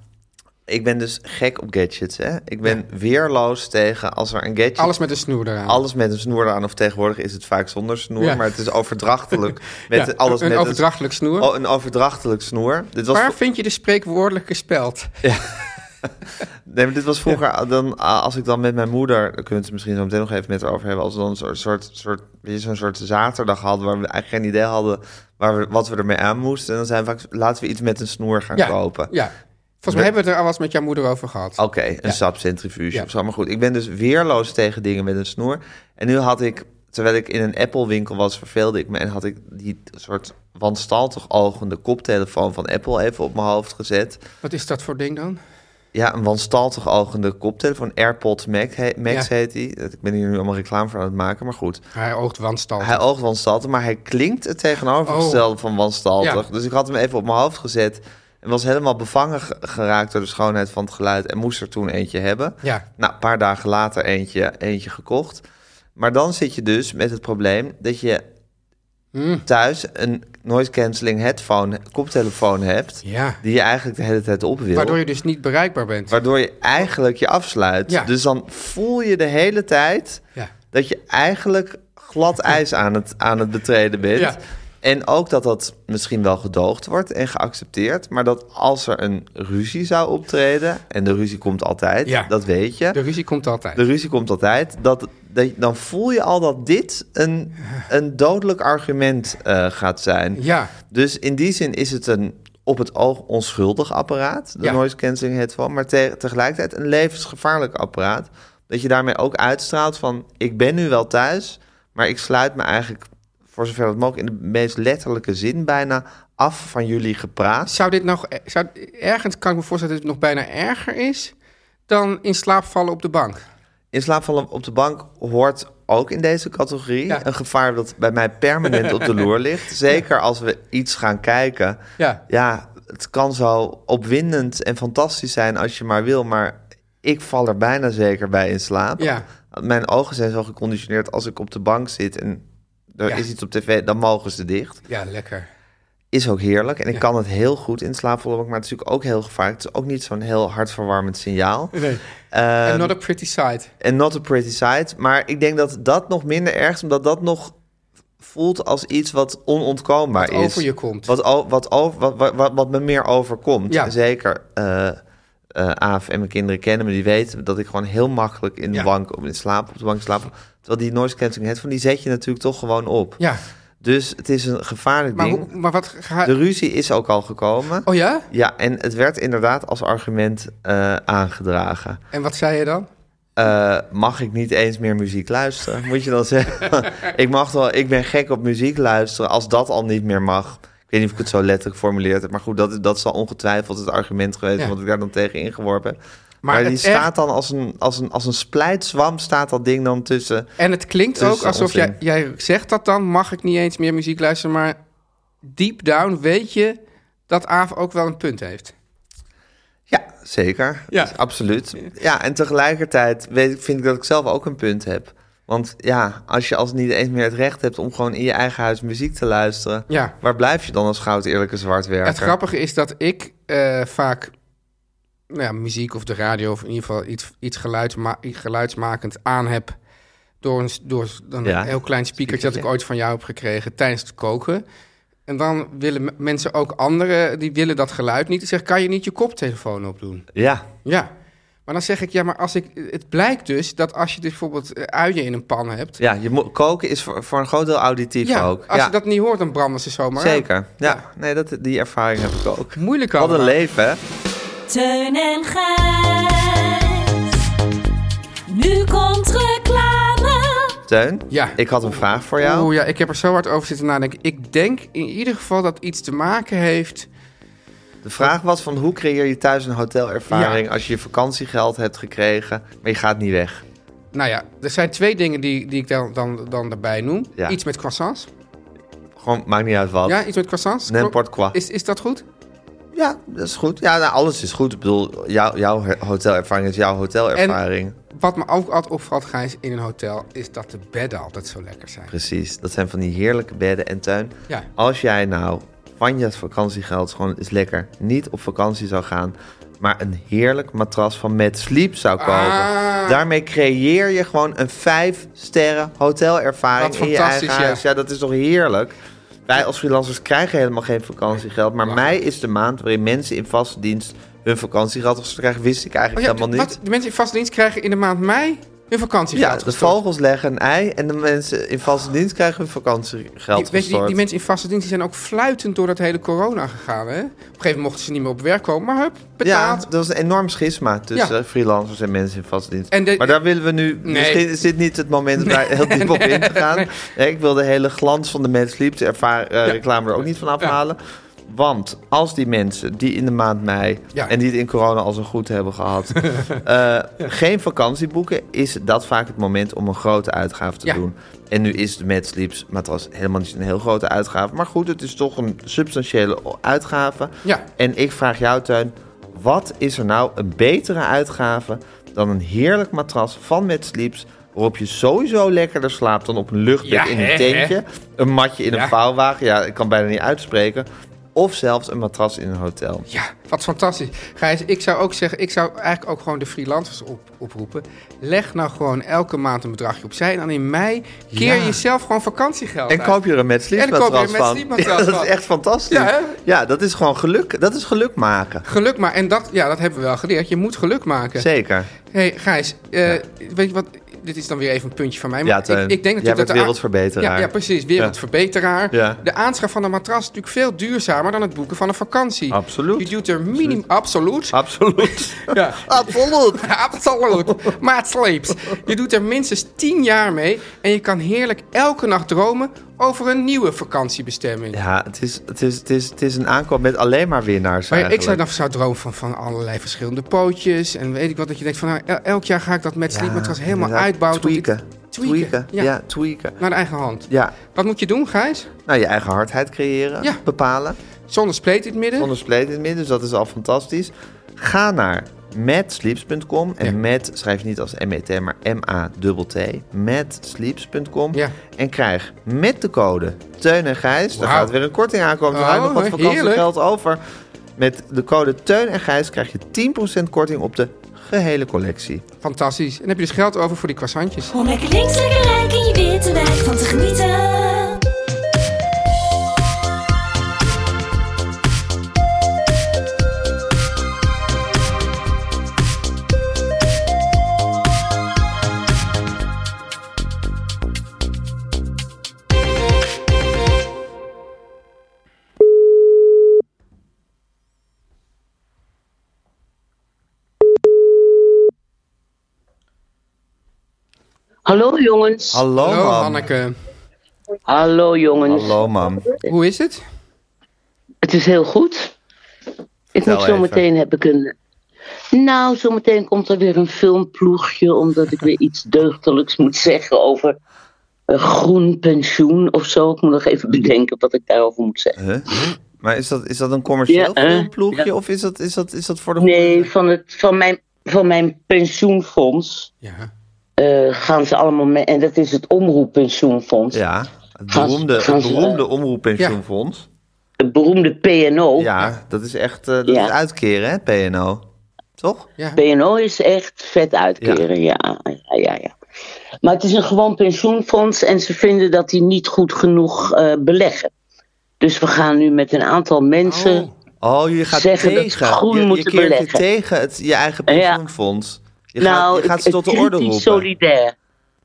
A: Ik ben dus gek op gadgets, hè. Ik ben weerloos tegen als er een gadget...
B: alles met een snoer eraan.
A: alles met een snoer aan, of tegenwoordig is het vaak zonder snoer,
B: Ja.
A: maar het is overdrachtelijk. Met
B: Ja,
A: alles
B: een
A: met
B: overdrachtelijk snoer.
A: Oh, een overdrachtelijk snoer. Dit was,
B: Waar vind je de spreekwoordelijke speld?
A: nee, maar dit was vroeger, dan, ah, als ik dan met mijn moeder, daar kunnen we het misschien zo meteen nog even met haar over hebben, als we dan zo'n soort, soort, weet je, zo'n soort zaterdag hadden waar we eigenlijk geen idee hadden waar we, wat we ermee aan moesten. En dan zijn we vaak, laten we iets met een snoer gaan
B: Ja,
A: kopen.
B: ja. Volgens mij hebben we het er al eens met jouw moeder over gehad.
A: Oké, een sapcentrifuge
B: Ja.
A: of zo. Maar goed, ik ben dus weerloos tegen dingen met een snoer. En nu had ik, terwijl ik in een Apple-winkel was, verveelde ik me... en had ik die soort wanstaltig ogende koptelefoon van Apple even op mijn hoofd gezet.
B: Wat is dat voor ding dan?
A: Ja, een wanstaltig ogende koptelefoon. AirPod Max, he- Max
B: Ja.
A: heet die. Ik ben hier nu allemaal reclame voor aan het maken, maar goed.
B: Hij oogt wanstaltig.
A: Hij oogt wanstaltig, maar hij klinkt het tegenovergestelde van wanstaltig.
B: Oh. Ja.
A: Dus ik had hem even op mijn hoofd gezet... en was helemaal bevangen ge- geraakt door de schoonheid van het geluid... en moest er toen eentje hebben.
B: Ja.
A: Nou, een paar dagen later eentje, eentje gekocht. Maar dan zit je dus met het probleem dat je
B: Mm.
A: thuis een noise cancelling headphone, koptelefoon hebt.
B: Ja.
A: Die je eigenlijk de hele tijd op wil.
B: Waardoor je dus niet bereikbaar bent.
A: waardoor je eigenlijk je afsluit.
B: Ja.
A: Dus dan voel je de hele tijd
B: Ja.
A: dat je eigenlijk glad ijs aan het, aan het betreden bent.
B: Ja.
A: En ook dat dat misschien wel gedoogd wordt en geaccepteerd. Maar dat als er een ruzie zou optreden, en de ruzie komt altijd,
B: Ja.
A: dat weet je.
B: De ruzie komt altijd.
A: De ruzie komt altijd. Dat, dat, dan voel je al dat dit een, een dodelijk argument eh, gaat zijn.
B: Ja,
A: Dus in die zin is het een op het oog onschuldig apparaat, de
B: Ja.
A: noise cancelling headphone, maar te- tegelijkertijd een levensgevaarlijk apparaat. Dat je daarmee ook uitstraalt van ik ben nu wel thuis, maar ik sluit me eigenlijk voor zover dat mogelijk in de meest letterlijke zin bijna af van jullie gepraat.
B: zou dit nog... eh, Zou, ergens kan ik me voorstellen dat het nog bijna erger is... dan in slaap vallen op de bank.
A: In slaap vallen op de bank hoort ook in deze categorie.
B: Ja.
A: Een gevaar dat bij mij permanent op de loer ligt. Zeker als we iets gaan kijken.
B: Ja.
A: ja, het kan zo opwindend en fantastisch zijn als je maar wil. Maar ik val er bijna zeker bij in slaap.
B: Ja.
A: Mijn ogen zijn zo geconditioneerd als ik op de bank zit en er
B: Ja.
A: is iets op tv, dan mogen ze dicht.
B: Ja, lekker.
A: Is ook heerlijk en ik
B: Ja.
A: kan het heel goed in slaap vallen, maar het is natuurlijk ook heel gevaarlijk. Het is ook niet zo'n heel hartverwarmend signaal.
B: Nee.
A: Ehm,
B: And not a pretty sight.
A: en not a pretty sight. Maar ik denk dat dat nog minder erg is, omdat dat nog voelt als iets wat onontkoombaar
B: Wat
A: is.
B: over je komt.
A: Wat, o- wat, over, wat, wat, wat, wat me meer overkomt.
B: Ja.
A: Zeker eh, eh Aaf en mijn kinderen kennen me, die weten dat ik gewoon heel makkelijk in de
B: Ja.
A: bank, op, in slaap, op de bank slaap. Terwijl die noise cancelling headphone, die zet je natuurlijk toch gewoon op.
B: Ja,
A: Dus het is een gevaarlijk
B: maar,
A: ding.
B: hoe- maar wat ga...
A: De ruzie is ook al gekomen.
B: Oh ja?
A: Ja, en het werd inderdaad als argument eh, aangedragen.
B: En wat zei je dan?
A: Eh, mag ik niet eens meer muziek luisteren? Moet je dan zeggen, ik mag wel, ik ben gek op muziek luisteren, als dat al niet meer mag. Ik weet niet of ik het zo letterlijk formuleerd heb, maar goed, dat, dat is al ongetwijfeld het argument geweest
B: Ja.
A: wat ik daar dan tegen ingeworpen heb. Maar, die
B: het
A: staat dan als een, als een, als een splijtzwam, staat dat ding dan tussen.
B: En het klinkt
A: Dus
B: ook alsof jij,
A: onzin.
B: jij zegt dat dan, mag ik niet eens meer muziek luisteren, maar deep down weet je dat Aaf ook wel een punt heeft.
A: Ja, zeker.
B: Ja.
A: Dus absoluut. Ja, en tegelijkertijd weet, vind ik dat ik zelf ook een punt heb. Want ja, als je als niet eens meer het recht hebt om gewoon in je eigen huis muziek te luisteren,
B: Ja.
A: waar blijf je dan als goud eerlijke zwartwerker?
B: Het grappige is dat ik eh, vaak nou ja, muziek of de radio of in ieder geval iets, iets geluidsma- iets geluidsmakend aan heb door een, s- door s- dan
A: Ja,
B: een heel klein speakertje dat ik
A: speakertje.
B: ooit van jou heb gekregen tijdens het koken. En dan willen m- mensen ook anderen, die willen dat geluid niet. Die zeggen, kan je niet je koptelefoon opdoen?
A: Ja,
B: Ja. Maar dan zeg ik, ja, maar als ik, het blijkt dus dat als je dus bijvoorbeeld eh, uien in een pan hebt.
A: ja je moet, koken is voor, voor een groot deel auditief
B: ja,
A: ook.
B: als
A: ja,
B: je dat niet hoort, dan branden ze zomaar uit.
A: zeker. Ja, nee, dat, die ervaring heb ik ook.
B: Moeilijk
A: Wat een
B: allemaal.
A: leven, hè?
D: Teun en Gijs. Nu komt reclame.
A: Teun,
B: Ja.
A: ik had een vraag voor jou.
B: Oeh, ja, ik heb er zo hard over zitten nadenken. Ik denk in ieder geval dat iets te maken heeft.
A: De vraag was van hoe creëer je thuis een hotelervaring als je je vakantiegeld hebt gekregen, maar je gaat niet weg?
B: Nou ja, er zijn twee dingen die, die ik dan, dan, dan daarbij noem.
A: Ja.
B: Iets met croissants.
A: Gewoon, maakt niet uit wat.
B: Ja, iets met croissants.
A: N'importe quoi.
B: Is, is dat goed?
A: Ja, dat is goed. Ja, nou, alles is goed. Ik bedoel, jou, jouw he- hotelervaring is jouw hotelervaring.
B: Wat me ook altijd opvalt, Gijs, in een hotel, is dat de bedden altijd zo lekker zijn.
A: Precies. Dat zijn van die heerlijke bedden en tuin.
B: Ja.
A: Als jij nou van je vakantiegeld gewoon eens lekker niet op vakantie zou gaan, maar een heerlijk matras van Mad Sleep zou kopen.
B: Ah.
A: Daarmee creëer je gewoon een vijf sterren hotelervaring
B: Wat
A: in je eigen
B: fantastisch, ja.
A: huis. Ja, dat is toch heerlijk. Wij als freelancers krijgen helemaal geen vakantiegeld, maar mei is de maand waarin mensen in vaste dienst hun vakantiegeld gestopt krijgen. Wist ik
B: Oh
A: eigenlijk
B: ja,
A: helemaal niet.
B: wat, de mensen in vaste dienst krijgen in de maand mei hun vakantie
A: Ja, de vogels leggen een ei en de mensen in vaste dienst krijgen hun vakantiegeld
B: Die, weet je, die,
A: gestort.
B: die mensen in vaste dienst die zijn ook fluitend door dat hele corona gegaan. Hè? Op een gegeven moment mochten ze niet meer op werk komen, maar hup,
A: ja,
B: betaald.
A: dat was een enorm schisma tussen freelancers en mensen in vaste dienst.
B: En de-
A: maar daar willen we nu...
B: Nee.
A: Misschien is dit niet het moment om daar heel diep op in te gaan. Nee, ik wil de hele glans van de mens liep eh, reclame er ook niet van afhalen. Want als die mensen die in de maand mei...
B: Ja.
A: en die het in corona als een goed hebben gehad... eh, geen vakantie boeken... is dat vaak het moment om een grote uitgave te
B: Ja.
A: doen. En nu is de Mad Sleeps matras helemaal niet een heel grote uitgave. Maar goed, het is toch een substantiële uitgave.
B: Ja.
A: En ik vraag jou, Tuin, wat is er nou een betere uitgave dan een heerlijk matras van Mad Sleeps... waarop je sowieso lekkerder slaapt dan op een luchtbed
B: Ja,
A: in een
B: hè,
A: tentje... een matje in
B: Ja.
A: een vouwwagen, ja, ik kan bijna niet uitspreken... of zelfs een matras in een hotel.
B: Ja, wat fantastisch. Gijs, ik zou ook zeggen, ik zou eigenlijk ook gewoon de freelancers op, oproepen. Leg nou gewoon elke maand een bedragje opzij. En dan in mei keer
A: Ja.
B: jezelf gewoon vakantiegeld
A: En
B: uit.
A: koop je er een Mad Sleeps
B: En dan koop je er
A: matras
B: een
A: van.
B: Mad Sleep matras
A: Ja, dat
B: van.
A: is echt fantastisch.
B: Ja, hè?
A: Ja, dat is gewoon geluk. Dat is geluk maken.
B: Geluk maar. En dat, ja, dat hebben we wel geleerd. Je moet geluk maken.
A: Zeker.
B: hey, Gijs, eh, weet je wat? Dit is dan weer even een puntje van mij.
A: Ja,
B: Maar
A: Teun,
B: ik, ik denk
A: jij
B: natuurlijk
A: bent
B: dat de a-
A: wereldverbeteraar.
B: Ja, ja, precies. Wereldverbeteraar.
A: Ja.
B: De aanschaf van een matras is natuurlijk veel duurzamer dan het boeken van een vakantie.
A: Absoluut.
B: Je doet er minim... Absoluut.
A: Absoluut.
B: Ja.
A: Absoluut.
B: Absoluut. Maar het sleeps. Je doet er minstens 10 jaar mee en je kan heerlijk elke nacht dromen over een nieuwe vakantiebestemming.
A: Ja, het is, het, is, het, is, het is een aankoop met alleen maar winnaars
B: Maar ja, ik
A: eigenlijk.
B: zou dan zou dromen van, van allerlei verschillende pootjes en weet ik wat. Dat je denkt van nou, el- elk jaar ga ik dat met sleepmatras helemaal
A: inderdaad.
B: uitbouwen. tot ik-
A: Tweaken.
B: Tweaken, ja.
A: Ja. tweaken.
B: Naar de eigen hand.
A: Ja,
B: Wat moet je doen, Gijs?
A: nou je eigen hardheid creëren,
B: Ja.
A: bepalen.
B: Zonder spleet in het midden.
A: Zonder spleet in het midden, dus dat is al fantastisch. Ga naar matsleeps.com en
B: Ja.
A: met schrijf je niet als M-E-T, maar M-A-T-T. Matsleeps.com
B: Ja.
A: en krijg met de code Teun en Gijs, daar
B: Wauw.
A: gaat weer een korting aankomen,
B: Oh,
A: dan hou je nog wat
B: heerlijk.
A: vakantiegeld over. Met de code Teun en Gijs krijg je 10% korting op de gehele collectie.
B: Fantastisch. En dan heb je dus geld over voor die croissantjes.
D: Om lekker links, lekker rijk in je witte wijk van te genieten.
E: Hallo jongens.
A: Hallo,
B: Hallo,
A: mam.
B: Hanneke.
E: Hallo jongens.
A: Hallo, mam.
B: Hoe is het?
E: Het is heel goed. Ik
A: Vertel
E: moet zo meteen heb ik een. Nou, zometeen komt er weer een filmploegje, omdat ik weer iets deugdelijks moet zeggen over een groen pensioen of zo. Ik moet nog even bedenken wat ik daarover moet zeggen.
A: Huh? Maar is dat, is dat een commercieel
E: Ja, eh,
A: filmploegje
E: ja.
A: of is dat, is, dat, is dat voor de
E: Nee, van, het, van, mijn, van mijn pensioenfonds
B: Ja.
E: eh, gaan ze allemaal mee. En dat is het omroeppensioenfonds.
A: Ja, het
E: Gaan ze-
A: beroemde,
E: gaan
A: het
E: ze-
A: beroemde omroeppensioenfonds.
E: Het beroemde PNO.
A: Ja, dat is echt eh, dat
E: Ja.
A: is uitkeren, hè, PNO. Toch?
B: Ja.
E: PNO is echt vet uitkeren, ja. Ja, ja, ja. Maar het is een gewoon pensioenfonds en ze vinden dat die niet goed genoeg eh, beleggen. Dus we gaan nu met een aantal mensen.
A: Oh, je gaat
E: Zeggen dat ze
A: tegen.
E: groen
A: je, je
E: moeten
A: keert je
E: beleggen.
A: tegen het, je eigen
E: Ja. Nou,
A: pensioenfonds. Je gaat, je gaat ze
E: ik-
A: tot de
E: kritisch
A: orde roepen.
E: solidair.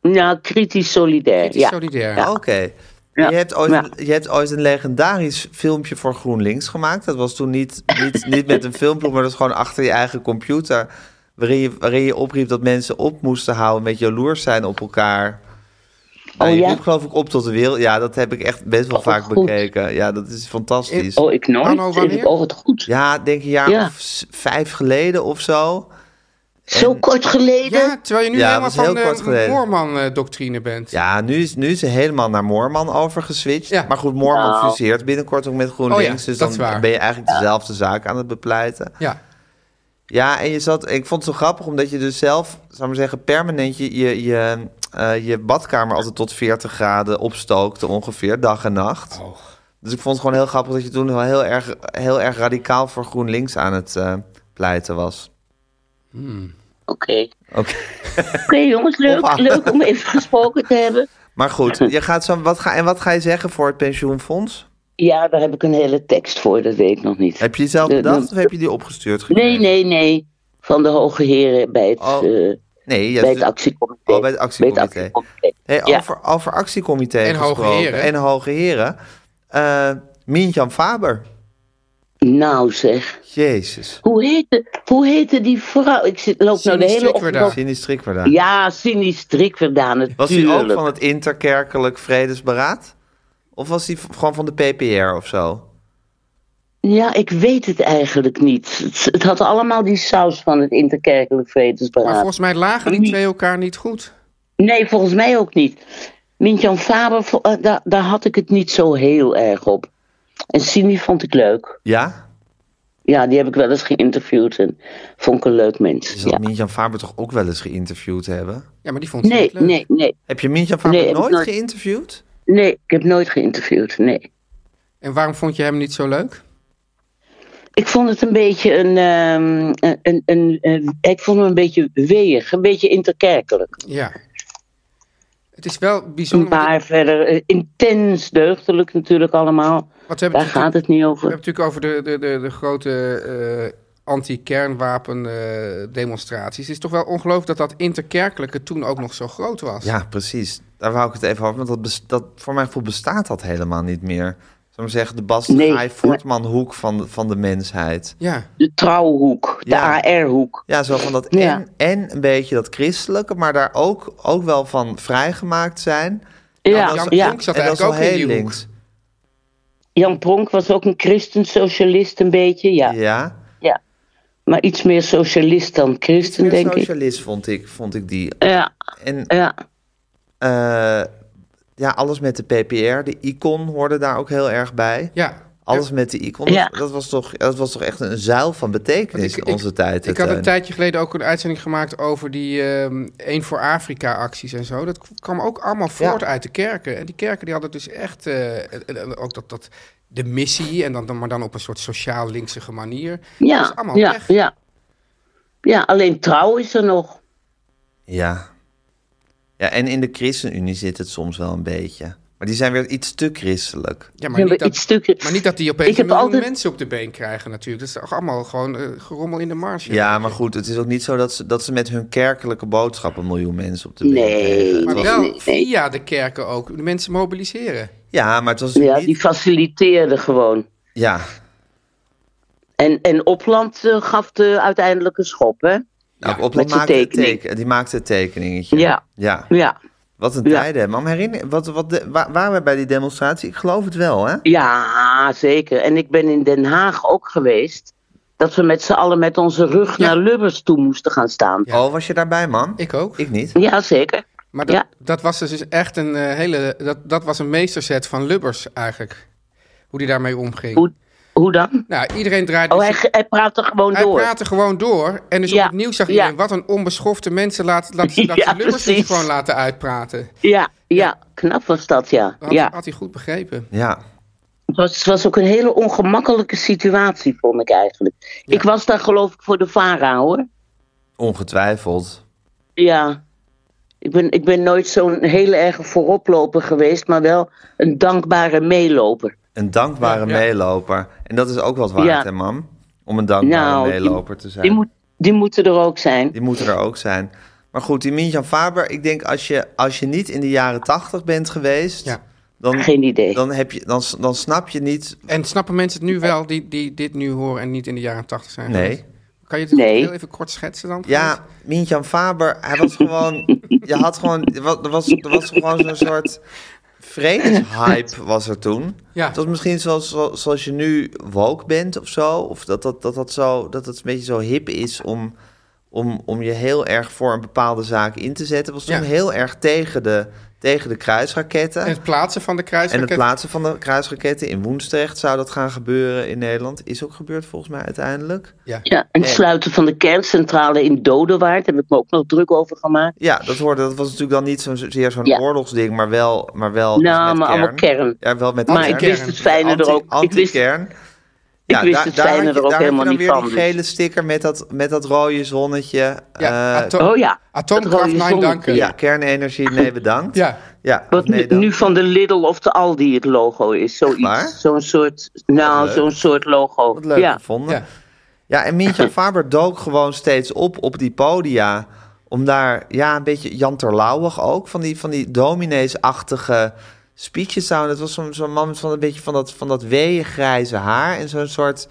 E: Nou, kritisch solidair.
B: Kritisch
E: ja.
B: solidair.
E: Ja.
A: Oké.
E: Ja.
A: Je, hebt ooit
E: Ja.
A: een, je hebt ooit een legendarisch filmpje voor GroenLinks gemaakt. Dat was toen niet, niet, niet met een filmploeg, maar dat was gewoon achter je eigen computer. Waarin je, waarin je opriep dat mensen op moesten houden met jaloers zijn op elkaar. Nou,
E: Oh,
A: je
E: ja?
A: roept geloof ik op tot de wereld. Ja, dat heb ik echt best wel
E: Oh,
A: vaak
E: goed.
A: bekeken. Ja, dat is fantastisch.
E: Oh, ik nooit.
B: Anno, wanneer?
E: Ik- Oh, wat goed.
A: Ja, denk een jaar
E: Ja.
A: of s- vijf geleden of zo.
E: Zo kort geleden.
B: Ja, terwijl je nu
A: Ja,
B: helemaal
A: dat is heel
B: van
A: kort
B: de
A: geleden.
B: Moorman-doctrine bent.
A: Ja, nu is, nu is ze helemaal naar Moorman overgeswitcht.
B: Ja.
A: Maar goed, Moorman
E: Nou.
A: fuseert binnenkort ook met GroenLinks.
B: Oh ja,
A: dus
B: dat is
A: dan
B: waar.
A: ben je eigenlijk dezelfde zaak aan het bepleiten.
B: Ja.
A: Ja, en je zat, ik vond het zo grappig omdat je dus zelf, zou ik maar zeggen, permanent je, je, je, eh, je badkamer altijd tot 40 graden opstookte ongeveer, dag en nacht.
B: Oh.
A: Dus ik vond het gewoon heel grappig dat je toen wel heel erg, heel erg radicaal voor GroenLinks aan het eh, pleiten was.
E: Oké.
A: Oké.
E: Oké, jongens, leuk,
A: Hoppa.
E: leuk om even gesproken te hebben.
A: Maar goed, je gaat zo, wat ga, en wat ga je zeggen voor het pensioenfonds?
E: Ja, daar heb ik een hele tekst voor, dat weet ik nog niet.
A: Heb je die zelf
E: De-
A: bedacht
E: de-
A: of heb je die opgestuurd?
E: Nee,
A: gekregen?
E: nee, nee. Van de hoge heren bij het,
A: Oh,
E: eh,
A: Nee, ja,
E: bij het
A: dus-
E: actiecomité.
A: Oh, bij het actiecomité.
E: actiecomité.
A: hey,
E: ja.
A: over, over actiecomité
B: En hoge
A: gesproken
B: heren.
A: En hoge heren. Eh, Mientjan Faber.
E: Nou zeg,
A: Jezus.
E: hoe heette, hoe heette die vrouw? Ik zit, loop nou de
B: Cindy
E: hele
B: Strikwerda.
E: ochtend...
A: Cindy Strikwerda.
E: Ja, Cindy Strikverdaan, natuurlijk.
A: Was hij ook van het interkerkelijk vredesberaad? Of was hij v- gewoon van de PPR of zo?
E: Ja, ik weet het eigenlijk niet. Het, het had allemaal die saus van het interkerkelijk
B: Maar
E: vredesberaad.
B: volgens mij lagen die
E: Niet-
B: twee elkaar niet goed.
E: Nee, volgens mij ook niet. Mintjan Faber, vo- eh, daar, daar had ik het niet zo heel erg op. En Cindy vond ik leuk.
A: Ja?
E: Ja, die heb ik wel eens geïnterviewd en vond ik een leuk
A: Je
E: mens.
A: zal
E: Ja.
A: Mientjan Faber toch ook wel eens geïnterviewd hebben?
B: Ja, maar die vond ze
E: Nee,
B: niet leuk.
E: nee, nee.
A: Heb je Mientjan Faber
E: Nee, heb ik
A: nooit
E: nooit.
A: geïnterviewd?
E: Nee, ik heb nooit geïnterviewd, nee.
B: En waarom vond je hem niet zo leuk?
E: Ik vond het een beetje een... ehm, een, een, een, een- ik vond hem een beetje weeg, een beetje interkerkelijk.
B: Ja. Het is wel bijzonder. want-
E: Maar verder eh, intens deugdelijk natuurlijk allemaal.
B: Want we hebben
E: Daar
B: het natuurlijk-
E: gaat het niet
B: We
E: over.
B: hebben het natuurlijk over de, de, de, de grote eh, anti-kernwapen eh, demonstraties. Het is toch wel ongelooflijk dat dat interkerkelijke toen ook nog zo groot was.
A: Ja, precies. Daar wou ik het even over. Want dat, bes- dat, voor mijn gevoel bestaat dat helemaal niet meer. Zou maar zeggen, de Bas
E: Nee,
A: Gaai Voortman hoek van, de- van de mensheid.
B: Ja,
E: De trouwhoek, de
A: Ja.
E: AR-hoek.
A: Ja, zo van dat en,
E: Ja.
A: en een beetje dat christelijke, maar daar ook, ook wel van vrijgemaakt zijn.
E: Ja,
B: Jan
E: Jan,
B: Pronk
E: ja.
B: zat
A: en dat is
B: eigenlijk
A: wel
B: ook in
A: heel
B: die hoek.
A: links.
E: Jan Pronk was ook een christensocialist een beetje, ja.
A: Ja.
E: ja. Maar iets meer socialist dan
A: Iets
E: christen,
A: meer
E: denk ik.
A: socialist vond ik, vond ik die.
E: Ja,
A: En
E: ja.
A: eh, ja, alles met de PPR, de icon hoorde daar ook heel erg bij.
B: ja.
A: Alles met de icon, dat-
E: Ja.
A: dat, was toch, dat was toch echt een zuil van betekenis
B: Want ik-
A: in onze tijd. eh,
B: Ik had
A: Teun.
B: een tijdje geleden ook een uitzending gemaakt over die ehm Eén voor Afrika acties en zo. Dat kwam ook allemaal voort uit de kerken. En die kerken die hadden dus echt eh, en- en ook dat, dat, de missie, en dan, dan, maar dan op een soort sociaal-linksige manier.
E: Ja,
B: Dat is allemaal
E: ja,
B: weg.
E: ja. Ja, alleen trouw is er nog.
A: Ja. Ja, en in de ChristenUnie zit het soms wel een beetje. Maar die zijn weer iets te christelijk.
B: Ja,
E: Maar,
B: maar niet,
E: iets
B: dat,
E: stukken.
B: maar niet dat die
E: Ik
B: opeens een
E: heb
B: miljoen
E: altijd-
B: mensen op de been krijgen natuurlijk. Dat is toch allemaal gewoon eh, gerommel in de marge.
A: Ja, maar goed, het is ook niet zo dat ze, dat ze met hun kerkelijke boodschap een miljoen mensen op de been
E: Nee.
A: kregen.
B: Maar
E: Nee,
B: wel
E: nee, nee.
B: via de kerken ook. De mensen mobiliseren.
A: Ja, maar het was
E: Ja,
A: niet...
E: die faciliteerde gewoon.
A: Ja,
E: En, en Opland eh, gaf de uiteindelijke schop, hè?
A: nou, Opland
E: met zijn
A: maakte het
E: tekening.
A: teken, die maakte het tekeningetje.
E: Ja.
A: ja.
E: Ja.
A: Wat een
E: Ja.
A: tijden. Maar herinner, wat, wat de, wa- waren we bij die demonstratie? Ik geloof het wel, hè?
E: Ja, zeker. En ik ben in Den Haag ook geweest. Dat we met z'n allen met onze rug
B: Ja.
E: naar Lubbers toe moesten gaan staan. Ja,
B: Ja.
A: Oh, was je daarbij, man?
B: Ik ook.
A: Ik niet.
E: zeker.
B: Maar dat,
E: Ja.
B: dat was dus echt een eh, hele. Dat, dat was een meesterzet van Lubbers eigenlijk. Hoe die daarmee omging.
E: Hoe, hoe dan?
B: Nou, iedereen draaide.
E: Oh, hij,
B: zich-
E: hij praat er gewoon
B: hij
E: door.
B: praatte gewoon door. En dus
E: Ja,
B: op het nieuws zag
E: ja.
B: iedereen wat een onbeschofte mensen laten, laten ze, dat
E: Ja,
B: ze Lubbers niet
E: precies.
B: gewoon laten uitpraten.
E: Ja, ja, knap was dat, ja.
B: Dat had,
E: ja.
B: had hij goed begrepen.
A: Ja.
E: Het was, het was ook een hele ongemakkelijke situatie, vond ik eigenlijk. Ik was daar geloof ik voor de VARA, hoor.
A: Ongetwijfeld.
E: Ja. Ik ben, ik ben nooit zo'n hele erge vooroploper geweest, maar wel een dankbare meeloper.
A: Een dankbare
B: Ja, ja.
A: meeloper. En dat is ook wat waard,
E: Ja.
A: hè, mam? Om een dankbare
E: Nou, die-
A: meeloper te zijn.
E: Die, moet, die moeten er ook zijn.
A: Die moeten er ook zijn. Maar goed, die Minjan Faber, ik denk als je, als je niet in de jaren tachtig bent geweest,
B: Ja.
A: dan,
E: Geen idee.
A: dan, heb je, dan, dan snap je niet.
B: En snappen mensen het nu wel die, die dit nu horen en niet in de jaren tachtig zijn?
A: Nee.
B: geweest? Kan je het
E: Nee.
B: heel even kort schetsen dan?
A: Ja, Minjan Faber, hij was gewoon. je had gewoon. Er wa- er was, er was gewoon zo'n soort. Vredeshype was er toen.
B: Ja.
A: Het was misschien zoals, zoals zoals je nu woke bent of zo. Of dat dat, dat, dat, zo, dat het een beetje zo hip is om, om, om je heel erg voor een bepaalde zaak in te zetten. Was toen
B: Ja.
A: heel erg tegen de, tegen de kruisraketten.
B: En het plaatsen van de
A: En het
B: kruisraket.
A: plaatsen van de kruisraketten in Woensdrecht zou dat gaan gebeuren in Nederland. Is ook gebeurd volgens mij uiteindelijk.
E: Ja, en het sluiten van de kerncentrale in Dodewaard, daar heb ik me ook nog druk over gemaakt.
A: Ja, dat, hoorde, dat was natuurlijk dan niet zo'n- zozeer zo'n
E: Ja.
A: oorlogsding, maar wel, maar wel iets
E: Nou,
A: met
E: maar allemaal kern.
A: Ja, wel met
E: Maar ik
A: kern.
E: wist het fijne
A: Anti-
E: er ook. Ik wist,
A: Anti-kern.
E: ik wist het
A: had
E: fijne
A: je-
E: er ook
A: daar had je
E: helemaal
A: dan
E: niet
A: weer
E: van,
A: die
E: dus.
A: gele sticker met dat, met dat rode zonnetje.
B: Ja,
A: Ja,
B: ato-
E: oh ja, dat
B: Atoomkracht,
E: rode
B: mijn
E: zonnetje.
B: danken.
A: ja kernenergie, nee bedankt.
B: Ja.
A: ja
E: wat
A: nee,
E: nu,
A: dan-
E: nu van de Lidl of de Aldi het logo is.
A: waar?
E: Zoiets, zo'n soort, nou,
A: leuk.
E: zo'n soort logo.
A: Wat leuk
E: ja.
A: gevonden. Ja.
B: Ja.
A: en Mintje Faber dook gewoon steeds op op die podia. Om daar, ja, een beetje Jan Terlouwig ook. Van die, van die domineesachtige speeches zouden. Het was zo'n zo'n man met van een beetje van dat, van dat weeën grijze haar. En zo'n soort...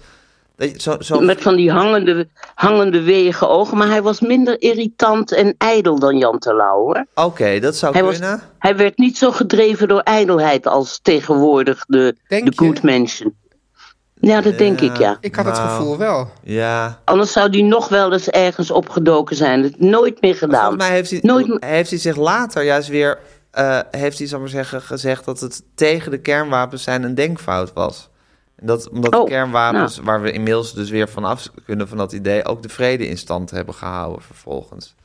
A: dat je- Zo, zo,
E: Met van die hangende, hangende wegen ogen. Maar hij was minder irritant en ijdel dan Jan Terlouw, hoor.
A: Oké, dat zou
E: Hij, was,
A: kunnen.
B: nou?
E: hij werd niet zo gedreven door ijdelheid als tegenwoordig de,
B: Denk
E: de
B: je?
E: good mensen. Ja, dat denk ik, ja.
B: Ik had het
A: Nou.
B: gevoel wel.
A: Ja.
E: Anders zou die nog wel eens ergens opgedoken zijn. Dat nooit meer
A: Maar
E: gedaan.
A: Volgens mij heeft hij,
E: Nou, Nooit meer-
A: heeft hij zich later juist weer... eh, heeft hij, zal ik maar zeggen, gezegd dat het tegen de kernwapens zijn een denkfout was. En dat omdat de
E: Oh,
A: kernwapens, waar we inmiddels dus weer vanaf kunnen van dat idee... ook de vrede in stand hebben gehouden vervolgens.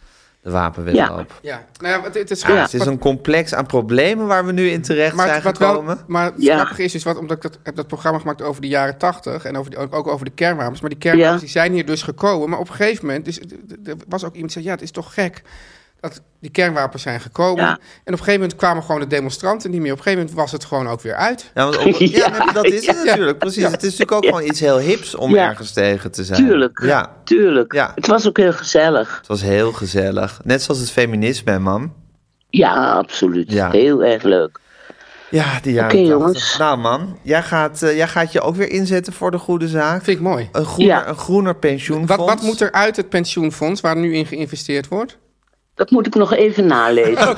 A: De wapenwedloop.
B: Ja, nou ja, het, het is
A: Ja.
B: grappig,
A: het is een complex aan problemen waar we nu in terecht
B: maar,
A: zijn
B: wat
A: gekomen.
B: wel, maar het
E: Ja.
B: grappige is, is wat, omdat ik dat, heb dat programma gemaakt over de jaren tachtig en over die, ook, ook over de kernwapens. Maar die kernwapens
E: Ja.
B: die zijn hier dus gekomen. Maar op een gegeven moment, dus, d- d- er was ook iemand die zei, ja, het is toch gek dat die kernwapens zijn gekomen.
E: Ja.
B: En op een gegeven moment kwamen gewoon de demonstranten niet meer. Op een gegeven moment was het gewoon ook weer uit.
A: Ja, want ook- ja,
E: Ja.
A: maar dat is het natuurlijk, precies. Het is natuurlijk ook gewoon iets heel hips om
E: Ja.
A: ergens tegen te zijn.
E: Tuurlijk,
A: Ja,
E: tuurlijk.
A: Ja.
E: Het was ook heel gezellig.
A: het was heel gezellig. Net zoals het feminisme, hè, mam.
E: Ja, absoluut.
A: Ja.
E: Heel erg leuk.
A: Ja, die jaren
E: Oké,
A: 80.
E: jongens.
A: Nou man, jij gaat, eh, jij gaat je ook weer inzetten voor de goede zaak.
B: vind ik mooi.
A: Een groener,
E: Ja.
A: een groener pensioenfonds.
B: Wat, wat moet er uit het pensioenfonds waar nu in geïnvesteerd wordt?
E: Dat moet ik nog even nalezen.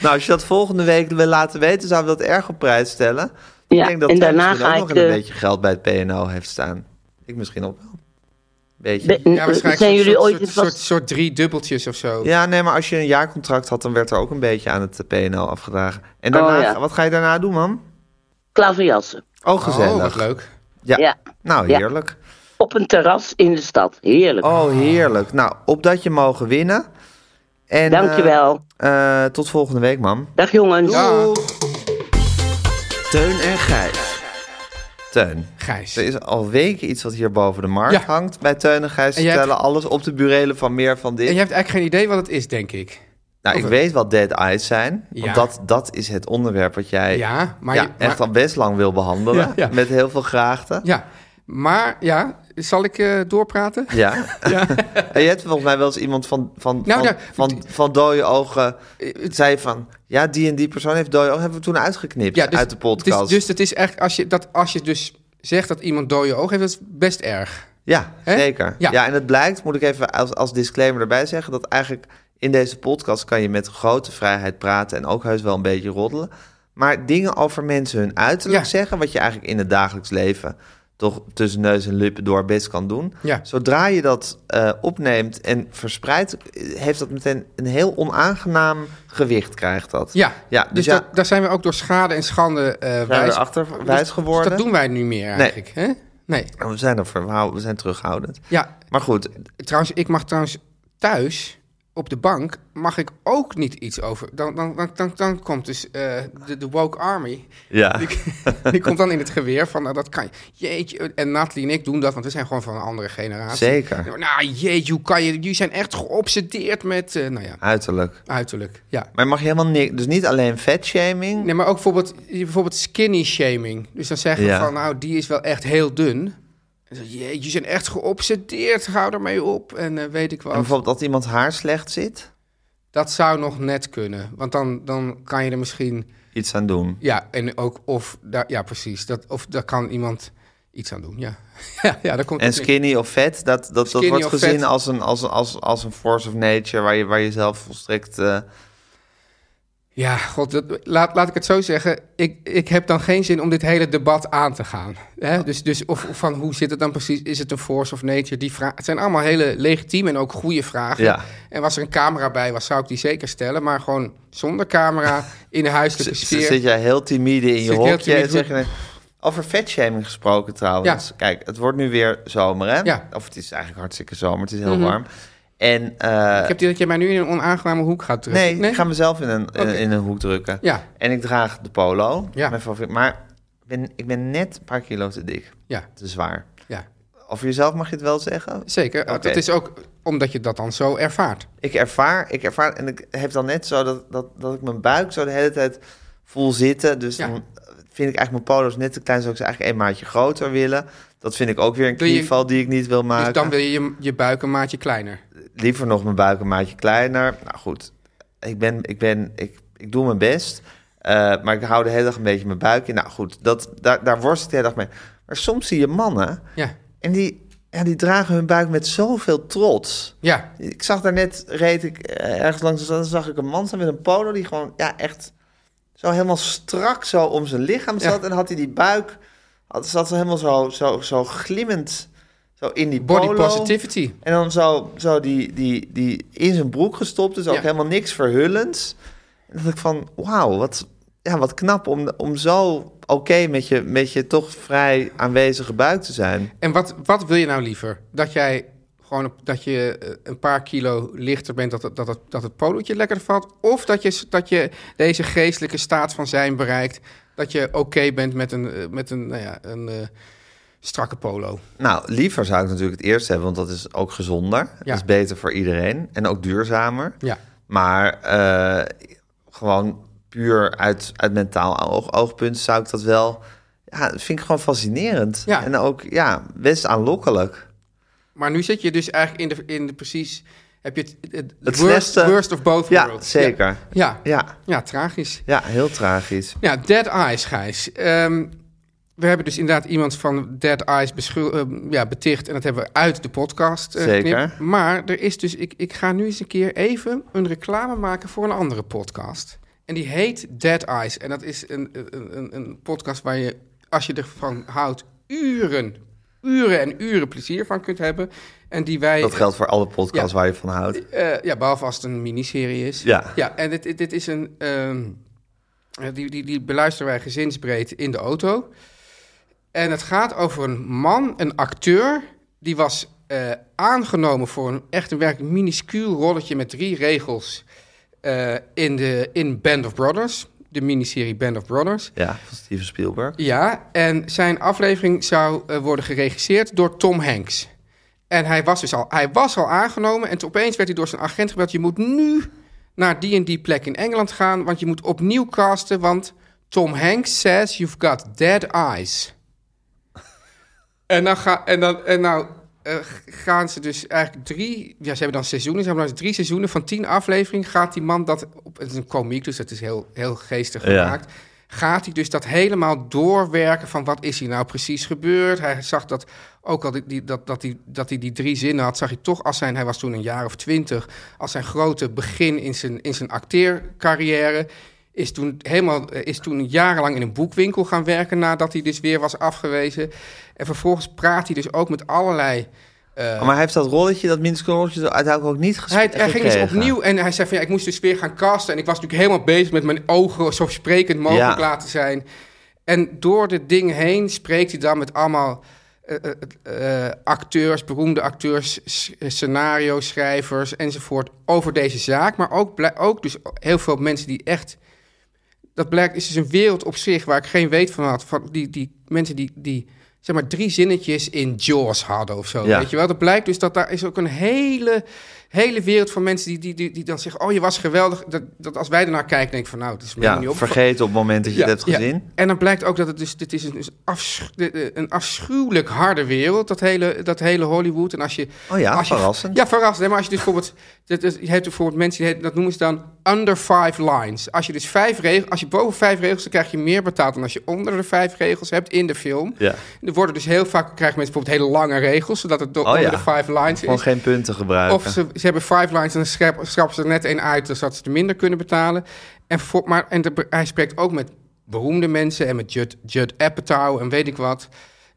A: Nou, als je dat volgende week wil laten weten, zouden we dat erg op prijs stellen. ik
E: Ja,
A: denk dat
E: en
A: Thijs
E: daarna
A: misschien
E: ga
A: ook
E: ik
A: nog
E: de-
A: een beetje geld bij het PNO heeft staan. Ik misschien ook wel. Beetje.
E: Be-
B: Ja, waarschijnlijk
E: zijn
B: een
E: jullie
B: soort,
E: ooit
B: soort,
E: eens
B: soort,
E: wat-
B: soort drie dubbeltjes of zo.
A: Ja, nee, maar als je een jaarcontract had, dan werd er ook een beetje aan het eh, PNO afgedragen. En daarna,
E: Oh, ja.
A: wat ga je daarna doen, man?
E: Klaverjassen.
A: Oh, gezellig.
B: Oh, wat leuk.
A: Ja.
E: Ja.
A: Nou,
E: Ja.
A: heerlijk.
E: Op een terras in de stad. Heerlijk.
A: Oh, heerlijk. Nou, opdat je mogen winnen. En, eh,
E: Dankjewel.
A: eh, tot volgende week, mam.
E: Dag jongens.
B: Ja,
C: Ah. Teun en Gijs.
A: Teun.
B: Gijs.
A: Er is al weken iets wat hier boven de markt
B: Ja.
A: hangt. Bij Teun en Gijs
B: En jij
A: vertellen alles op de burelen van meer van dit.
B: En je hebt eigenlijk geen idee wat het is, denk ik.
A: nou, ik
B: Of-
A: weet wat dead eyes zijn.
B: Ja.
A: Want dat, dat is het onderwerp wat jij
B: Ja, maar...
A: ja,
B: je- maar-
A: echt al best lang wil behandelen.
B: Ja, ja.
A: Met heel veel graagte.
B: Ja, maar ja, zal ik eh, doorpraten?
A: Ja. en je hebt volgens mij wel eens iemand van, van,
B: Nou, Eh,
A: van,
B: daar-
A: van, van dode ogen... zei van, ja, die en die persoon heeft dode ogen. Hebben we toen uitgeknipt
B: Ja, dus-
A: uit de podcast.
B: Dus, dus het is echt, als je, dat, als je dus zegt dat iemand dode ogen heeft, dat is best erg.
A: Ja,
B: Hè?
A: zeker. Ja.
B: Ja.
A: en het blijkt, moet ik even als, als disclaimer erbij zeggen, dat eigenlijk in deze podcast kan je met grote vrijheid praten en ook heus wel een beetje roddelen. Maar dingen over mensen hun uiterlijk
B: Ja.
A: zeggen, wat je eigenlijk in het dagelijks leven toch tussen neus en lippen door best kan doen.
B: Ja.
A: Zodra je dat eh, opneemt en verspreidt, eh, heeft dat meteen een heel onaangenaam gewicht, krijgt dat.
B: Ja,
A: ja
B: dus dat- daar zijn we ook door schade en schande eh
A: zijn
B: wijs,
A: we achter
B: Dus-
A: wijs
B: Dus
A: geworden.
B: dat doen wij nu meer eigenlijk. Hè? Nee.
A: We zijn er verhaal, we zijn terughoudend.
B: Ja,
A: Maar goed,
B: trouwens, ik mag trouwens thuis op de bank mag ik ook niet iets over. Dan, dan, dan, dan, dan komt dus eh, de, de woke army.
A: ja.
B: Die, die komt dan in het geweer van, nou dat kan je. Jeetje, en Nathalie en ik doen dat, want we zijn gewoon van een andere generatie.
A: Zeker.
B: Nou jeetje, hoe kan je, jullie zijn echt geobsedeerd met, eh, nou ja,
A: uiterlijk.
B: uiterlijk. Ja.
A: Maar mag je helemaal niks, dus niet alleen fatshaming.
B: Nee, maar ook bijvoorbeeld, bijvoorbeeld skinny shaming. Dus dan zeggen we
A: Ja.
B: van, nou, die is wel echt heel dun. En dan, Jeetje, je zijn echt geobsedeerd, hou ermee op. En eh, weet ik
A: En
B: wat.
A: bijvoorbeeld dat iemand haar slecht zit,
B: Dat zou nog net kunnen. Want dan, dan kan je er misschien...
A: iets aan doen.
B: Ja, en ook of... daar- ja, precies. Dat, of daar kan iemand iets aan doen, ja. ja, ja daar komt
A: En
B: het neer.
A: skinny of vet, dat, dat, dat
B: Skinny
A: wordt
B: of
A: gezien
B: vet.
A: als een, als, als, als een force of nature waar je, waar je zelf volstrekt... eh,
B: Ja, god, dat- laat, laat ik het zo zeggen. Ik, ik heb dan geen zin om dit hele debat aan te gaan. Hè? Dus, dus of, of van hoe zit het dan precies? Is het een force of nature? Die vraag, het zijn allemaal hele legitieme en ook goede vragen.
A: Ja.
B: En was er een camera bij was, zou ik die zeker stellen. Maar gewoon zonder camera, in de huiselijke
A: z-
B: sfeer.
A: zit jij heel timide in je
B: Zit heel
A: hokje en
B: timide.
A: zeg je... nee. Over vetshaming gesproken trouwens.
B: Ja.
A: Kijk, het wordt nu weer zomer, hè?
B: Ja. Mhm.
A: Of het is eigenlijk hartstikke zomer, het is heel warm. En eh,
B: Ik heb die dat jij mij nu in een onaangename hoek gaat drukken.
A: Nee, ik ga mezelf in een, eh, in, in een hoek drukken.
B: Ja.
A: En ik draag de polo.
B: Ja.
A: Mijn favoriet. Maar ik ben, ik ben net een paar kilo te dik.
B: Ja,
A: Te zwaar.
B: ja.
A: Over jezelf mag je het wel zeggen.
B: zeker.
A: Oké.
B: Dat is ook omdat je dat dan zo ervaart. Dus
A: Ik ervaar, ik ervaar en ik heb dan net zo dat, dat, dat ik mijn buik zo de hele tijd vol zitten. Dus
B: Ja.
A: dan vind ik eigenlijk mijn polo's net te klein. Zou ik ze eigenlijk een maatje groter willen. Dat vind ik ook weer een
B: Wil je-
A: knieval die ik niet wil maken.
B: Dus dan wil je je, je buik een maatje kleiner.
A: liever nog mijn buik een maatje kleiner. Nou goed, ik, ben, ik, ben, ik, ik doe mijn best. eh, maar ik hou de hele dag een beetje mijn buik in. Nou goed, dat, daar, daar worst ik de hele dag mee. Maar soms zie je mannen
B: Ja,
A: en die, ja, die dragen hun buik met zoveel trots.
B: ja.
A: Ik zag daarnet, reed ik eh, ergens langs, de stad en zag ik een man staan met een polo die gewoon ja, echt zo helemaal strak zo om zijn lichaam zat. En had hij die buik, had, zat zo helemaal zo, zo, zo glimmend zo in die
B: Body
A: polo.
B: positivity.
A: En dan zo, zo die, die, die in zijn broek gestopt, dus ook
B: Ja.
A: helemaal niks verhullends. En dan dacht ik van, wauw, wat, ja, wat knap om, om zo oké met, je, met je toch vrij aanwezige buik te zijn.
B: En wat, wat wil je nou liever? Dat jij gewoon op- dat je eh, een paar kilo lichter bent, dat, het- dat, het, dat het polootje lekker valt? Of dat je, s- dat je deze geestelijke staat van zijn bereikt, dat je oké bent met een, eh, met een, nou ja, een eh, strakke polo?
A: Nou, liever zou ik natuurlijk het eerst hebben, want dat is ook gezonder.
B: Ja.
A: Dat is beter voor iedereen en ook duurzamer.
B: Ja.
A: Maar eh, gewoon puur uit, uit mentaal oog- oogpunt zou ik dat wel... Ja, dat vind ik gewoon fascinerend.
B: Ja.
A: En ook, ja, best aanlokkelijk.
B: Maar nu zit je dus eigenlijk in de, in de precies... Heb je het, het,
A: Het
B: worst,
A: slechtste-
B: worst of both
A: Ja,
B: worlds.
A: zeker.
B: Ja. Ja.
A: Ja,
B: ja, tragisch.
A: ja, heel tragisch.
B: Ja, Dead Eyes, Gijs. Ehm, we hebben dus inderdaad iemand van Dead Eyes beschul- ehm, ja, beticht. En dat hebben we uit de podcast eh,
A: Zeker.
B: geknipt. Maar er is dus... Ik, ik ga nu eens een keer even een reclame maken voor een andere podcast. En die heet Dead Eyes. En dat is een, een, een- een podcast waar je, als je ervan houdt, uren, uren en uren plezier van kunt hebben. En die wij...
A: Dat geldt voor alle podcasts
B: Ja.
A: waar je van houdt.
B: Eh, ja, behalve als het een miniserie is.
A: Ja.
B: Ja, en dit, dit, dit is een... ehm, eh, die, die, die beluisteren wij gezinsbreed in de auto. En het gaat over een man, een acteur... die was eh, aangenomen voor een echt een werkelijk minuscuul rolletje... met drie regels eh, in, de, in Band of Brothers. De miniserie Band of Brothers.
A: Ja, van Steven Spielberg.
B: Ja, en zijn aflevering zou eh, worden geregisseerd door Tom Hanks. En hij was dus al, hij was al aangenomen en toen opeens werd hij door zijn agent gebeld... je moet nu naar die en die plek in Engeland gaan... want je moet opnieuw casten, want Tom Hanks says you've got dead eyes. en, dan ga, en, dan, en nou eh, g- gaan ze dus eigenlijk drie... Ja, ze hebben dan seizoenen, ze hebben dan drie dus seizoenen van tien afleveringen... gaat die man dat... Op, het is een komiek, dus dat is heel, heel geestig
A: Ja.
B: gemaakt. gaat hij dus dat helemaal doorwerken van wat is hier nou precies gebeurd. Hij zag dat, ook al die, die- dat, dat, hij, dat hij die drie zinnen had, zag hij toch als zijn, hij was toen een jaar of twintig, als zijn grote begin in zijn, in zijn acteercarrière. Is toen, helemaal, eh, is toen jarenlang in een boekwinkel gaan werken nadat hij dus weer was afgewezen. En vervolgens praat hij dus ook met allerlei
A: maar hij heeft dat rolletje, dat minuscule rolletje, dat uiteindelijk ook niet gespeeld.
B: hij, hij ging dus opnieuw en hij zei van ja, ik moest dus weer gaan casten. En ik was natuurlijk helemaal bezig met mijn ogen zo sprekend mogelijk
A: Ja.
B: laten zijn. En door de dingen heen spreekt hij dan met allemaal eh, eh, eh, acteurs, beroemde acteurs, s- eh, scenario-schrijvers enzovoort over deze zaak. Maar ook, blij- ook dus heel veel mensen die echt... Dat blijkt, is dus een wereld op zich waar ik geen weet van had. Van die, die mensen die, die zeg maar drie zinnetjes in Jaws hadden of zo.
A: Ja.
B: Weet je wel, dat blijkt dus dat daar is ook een hele, hele wereld van mensen die, die, die, die dan zeggen: Oh, je was geweldig. Dat, dat als wij ernaar kijken, denk ik van nou, het is me helemaal niet
A: Ja,
B: op.
A: vergeet op het moment dat je
B: Ja,
A: het hebt
B: ja.
A: gezien.
B: En dan blijkt ook dat het dus, dit is een, dus afsch- de- de- een afschuwelijk harde wereld, dat hele, dat hele Hollywood. En als je,
A: Oh ja,
B: als je-
A: verrassend.
B: ja, verrassend. hè, Maar als je dus bijvoorbeeld, dat, dat- je hebt bijvoorbeeld mensen, die heten- dat noemen ze dan under five lines. Als je dus vijf regels, als je boven vijf regels, dan krijg je meer betaald dan als je onder de vijf regels hebt in de film.
A: Ja.
B: Er worden dus heel vaak, krijgen mensen bijvoorbeeld hele lange regels, zodat het door
A: Oh
B: onder
A: ja.
B: de five lines
A: Gewoon
B: is.
A: geen punten gebruiken.
B: Of ze, ze hebben five lines en dan schrap- schrappen ze er net één uit... zodat ze er minder kunnen betalen. En, voor, maar, en de- hij spreekt ook met beroemde mensen... en met Judd, Judd Apatow en weet ik wat.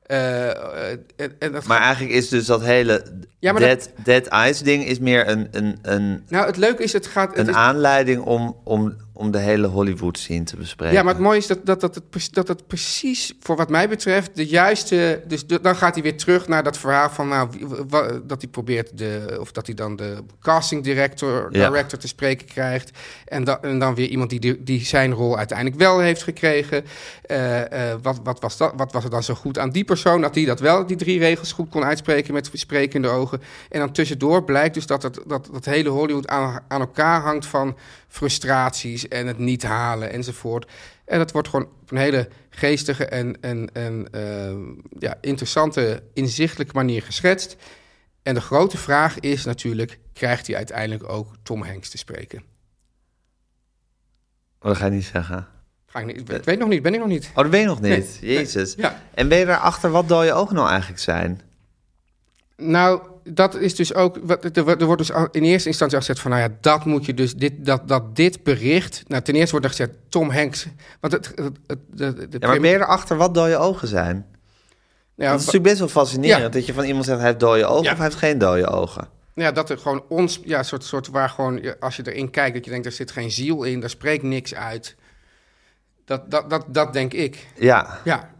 B: Eh, eh, en, en dat
A: Maar eigenlijk is dus dat hele
B: Ja, maar
A: dead, dead Eyes ding is meer een, een, een,
B: nou, het leuke is, het gaat... het
A: een
B: is-
A: aanleiding om, om, om de hele Hollywood scene te bespreken.
B: ja, maar het mooie is dat dat, dat, het, pre- dat het precies, voor wat mij betreft, de juiste... Dus de- dan gaat hij weer terug naar dat verhaal van... Nou, wie- wa- dat hij probeert de... Of dat hij dan de casting director,
A: Ja.
B: director te spreken krijgt. En, da- en dan weer iemand die, die, die zijn rol uiteindelijk wel heeft gekregen. Eh, eh, wat, wat, was dat, wat was er dan zo goed aan die persoon? Dat die dat wel, die drie regels goed kon uitspreken met sprekende ogen. En dan tussendoor blijkt dus dat het, dat, dat hele Hollywood aan, aan elkaar hangt van frustraties en het niet halen enzovoort. En dat wordt gewoon op een hele geestige en, en, en eh, ja, interessante, inzichtelijke manier geschetst. En de grote vraag is natuurlijk, krijgt hij uiteindelijk ook Tom Hanks te spreken?
A: Oh, dat ga je niet zeggen.
B: Ga ik, niet, ik weet nog niet, ben ik nog niet.
A: Oh, dat weet je nog niet.
B: Nee,
A: Jezus.
B: nee, ja.
A: En ben je daarachter wat dode ogen nou eigenlijk zijn?
B: Nou, dat is dus ook. wat- Er wordt er wordt dus al in eerste instantie al gezegd van, nou ja, dat moet je dus dit, dat, dat dit bericht. Nou, ten eerste wordt er gezegd Tom Hanks. Want het, het, het- de- de, de
A: Ja, maar ben je erachter wat dode ogen zijn?
B: ja,
A: dat is natuurlijk best wel fascinerend.
B: Ja.
A: Dat je van iemand zegt, hij heeft dode ogen
B: Ja.
A: of hij heeft geen dode ogen.
B: Ja, dat er gewoon ons, ja, soort, soort waar gewoon, je- als je erin kijkt, dat je denkt, er zit geen ziel in, daar spreekt niks uit. Dat, dat, dat, dat denk ik.
A: Ja.
B: Ja.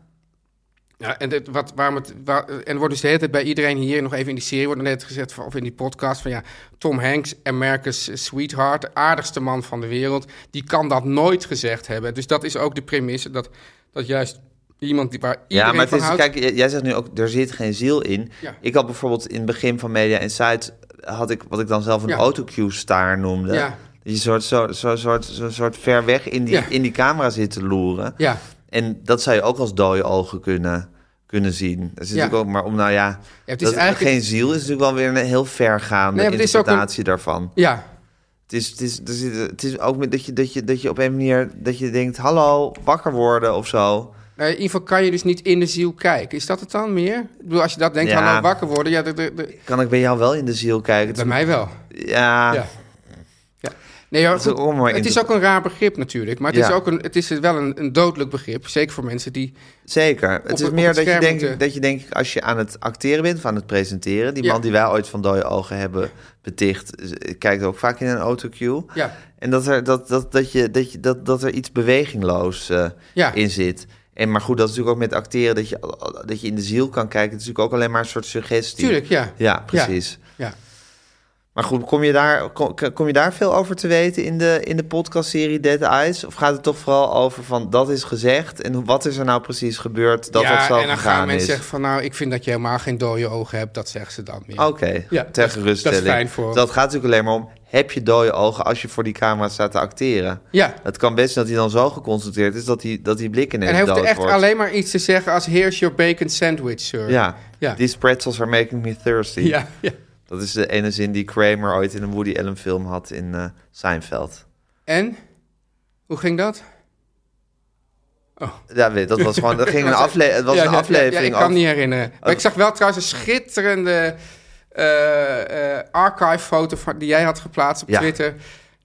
B: Ja, en, dit, wat, waarom het, waar, en er wordt dus de hele tijd bij iedereen hier nog even in die serie wordt er net gezet, van, of in die podcast, van ja, Tom Hanks, America's sweetheart, de aardigste man van de wereld, die kan dat nooit gezegd hebben. Dus dat is ook de premisse, dat, dat juist iemand die, waar iedereen
A: Ja, maar het
B: van
A: is,
B: houdt...
A: kijk, j- jij zegt nu ook, er zit geen ziel in.
B: Ja.
A: Ik had bijvoorbeeld in het begin van Media Insight, had ik wat ik dan zelf een
B: Ja.
A: autocue-staar noemde.
B: Ja.
A: Dat je soort, zo, zo, soort, zo, soort ver weg in die,
B: Ja.
A: in die camera zit te loeren.
B: Ja.
A: En dat zou je ook als dode ogen kunnen, kunnen zien. Dat is
B: Ja.
A: natuurlijk ook, maar om nou ja,
B: het is
A: dat er
B: eigenlijk-
A: geen ziel is natuurlijk wel weer een heel vergaande
B: Nee, maar het is ook een-
A: interpretatie daarvan.
B: Ja,
A: Het is, het is, er zit- het is ook met dat je, dat, je, dat je op een manier dat je denkt, hallo, wakker worden of zo.
B: Nou, in ieder geval kan je dus niet in de ziel kijken. Is dat het dan meer? Ik bedoel, als je dat denkt,
A: Ja.
B: hallo wakker worden. Ja, de, de, de-
A: Kan ik bij jou wel in de ziel kijken? Het
B: bij
A: is-
B: mij wel.
A: Ja,
B: Ja. ja. Nee, ja,
A: Ah. is ook
B: goed,
A: een mooi
B: het is
A: inter-
B: ook een raar begrip natuurlijk. Maar het
A: Ja.
B: is ook een, het is wel een, een dodelijk begrip. Zeker voor mensen die...
A: zeker. Het
B: Op-
A: is
B: op
A: meer
B: het
A: dat, je
B: scherm
A: denk,
B: moeten-
A: dat je denk ik als je aan het acteren bent of aan het presenteren... die
B: Ja.
A: man die wij ooit van dode ogen hebben beticht... eh, kijkt ook vaak in een autocue.
B: Ja.
A: En dat er, dat, dat, dat je, dat je, dat, dat er iets bewegingloos eh,
B: Ja.
A: in zit... En, maar goed, dat is natuurlijk ook met acteren, dat je, dat je in de ziel kan kijken. Het is natuurlijk ook alleen maar een soort suggestie.
B: Tuurlijk, ja.
A: Ja, precies.
B: Ja.
A: Maar goed, kom je, daar, kom, kom je daar veel over te weten in de, in de podcastserie Dead Eyes? Of gaat het toch vooral over van dat is gezegd en wat is er nou precies gebeurd dat
B: ja,
A: dat zo
B: en dan gaan
A: gegaan
B: mensen
A: is?
B: zeggen van... Nou, ik vind dat je helemaal geen dode ogen hebt. Dat zeggen ze dan meer.
A: Oké,
B: Ja, dat- dat
A: ter
B: is
A: geruststelling.
B: fijn voor-
A: Dat gaat natuurlijk alleen maar om, heb je dode ogen als je voor die camera staat te acteren?
B: Ja.
A: Het kan best zijn dat hij dan zo geconcentreerd is dat hij, dat hij blik ineens
B: En hij hoeft
A: dood
B: echt
A: wordt.
B: alleen maar iets te zeggen als... Here's your bacon sandwich, sir.
A: Ja.
B: Ja.
A: these pretzels are making me thirsty.
B: Ja, ja.
A: Dat is de ene zin die Kramer ooit in een Woody Allen film had in eh Seinfeld.
B: En? Hoe ging dat?
A: Ja, weet, je, dat was gewoon. Dat ging een, afle het was
B: Ja,
A: een
B: ja,
A: aflevering. Oh.
B: Ja, ik kan
A: over-
B: me niet herinneren. Maar ik zag wel trouwens een schitterende eh, eh, archive-foto van- die jij had geplaatst op
A: Ja.
B: Twitter.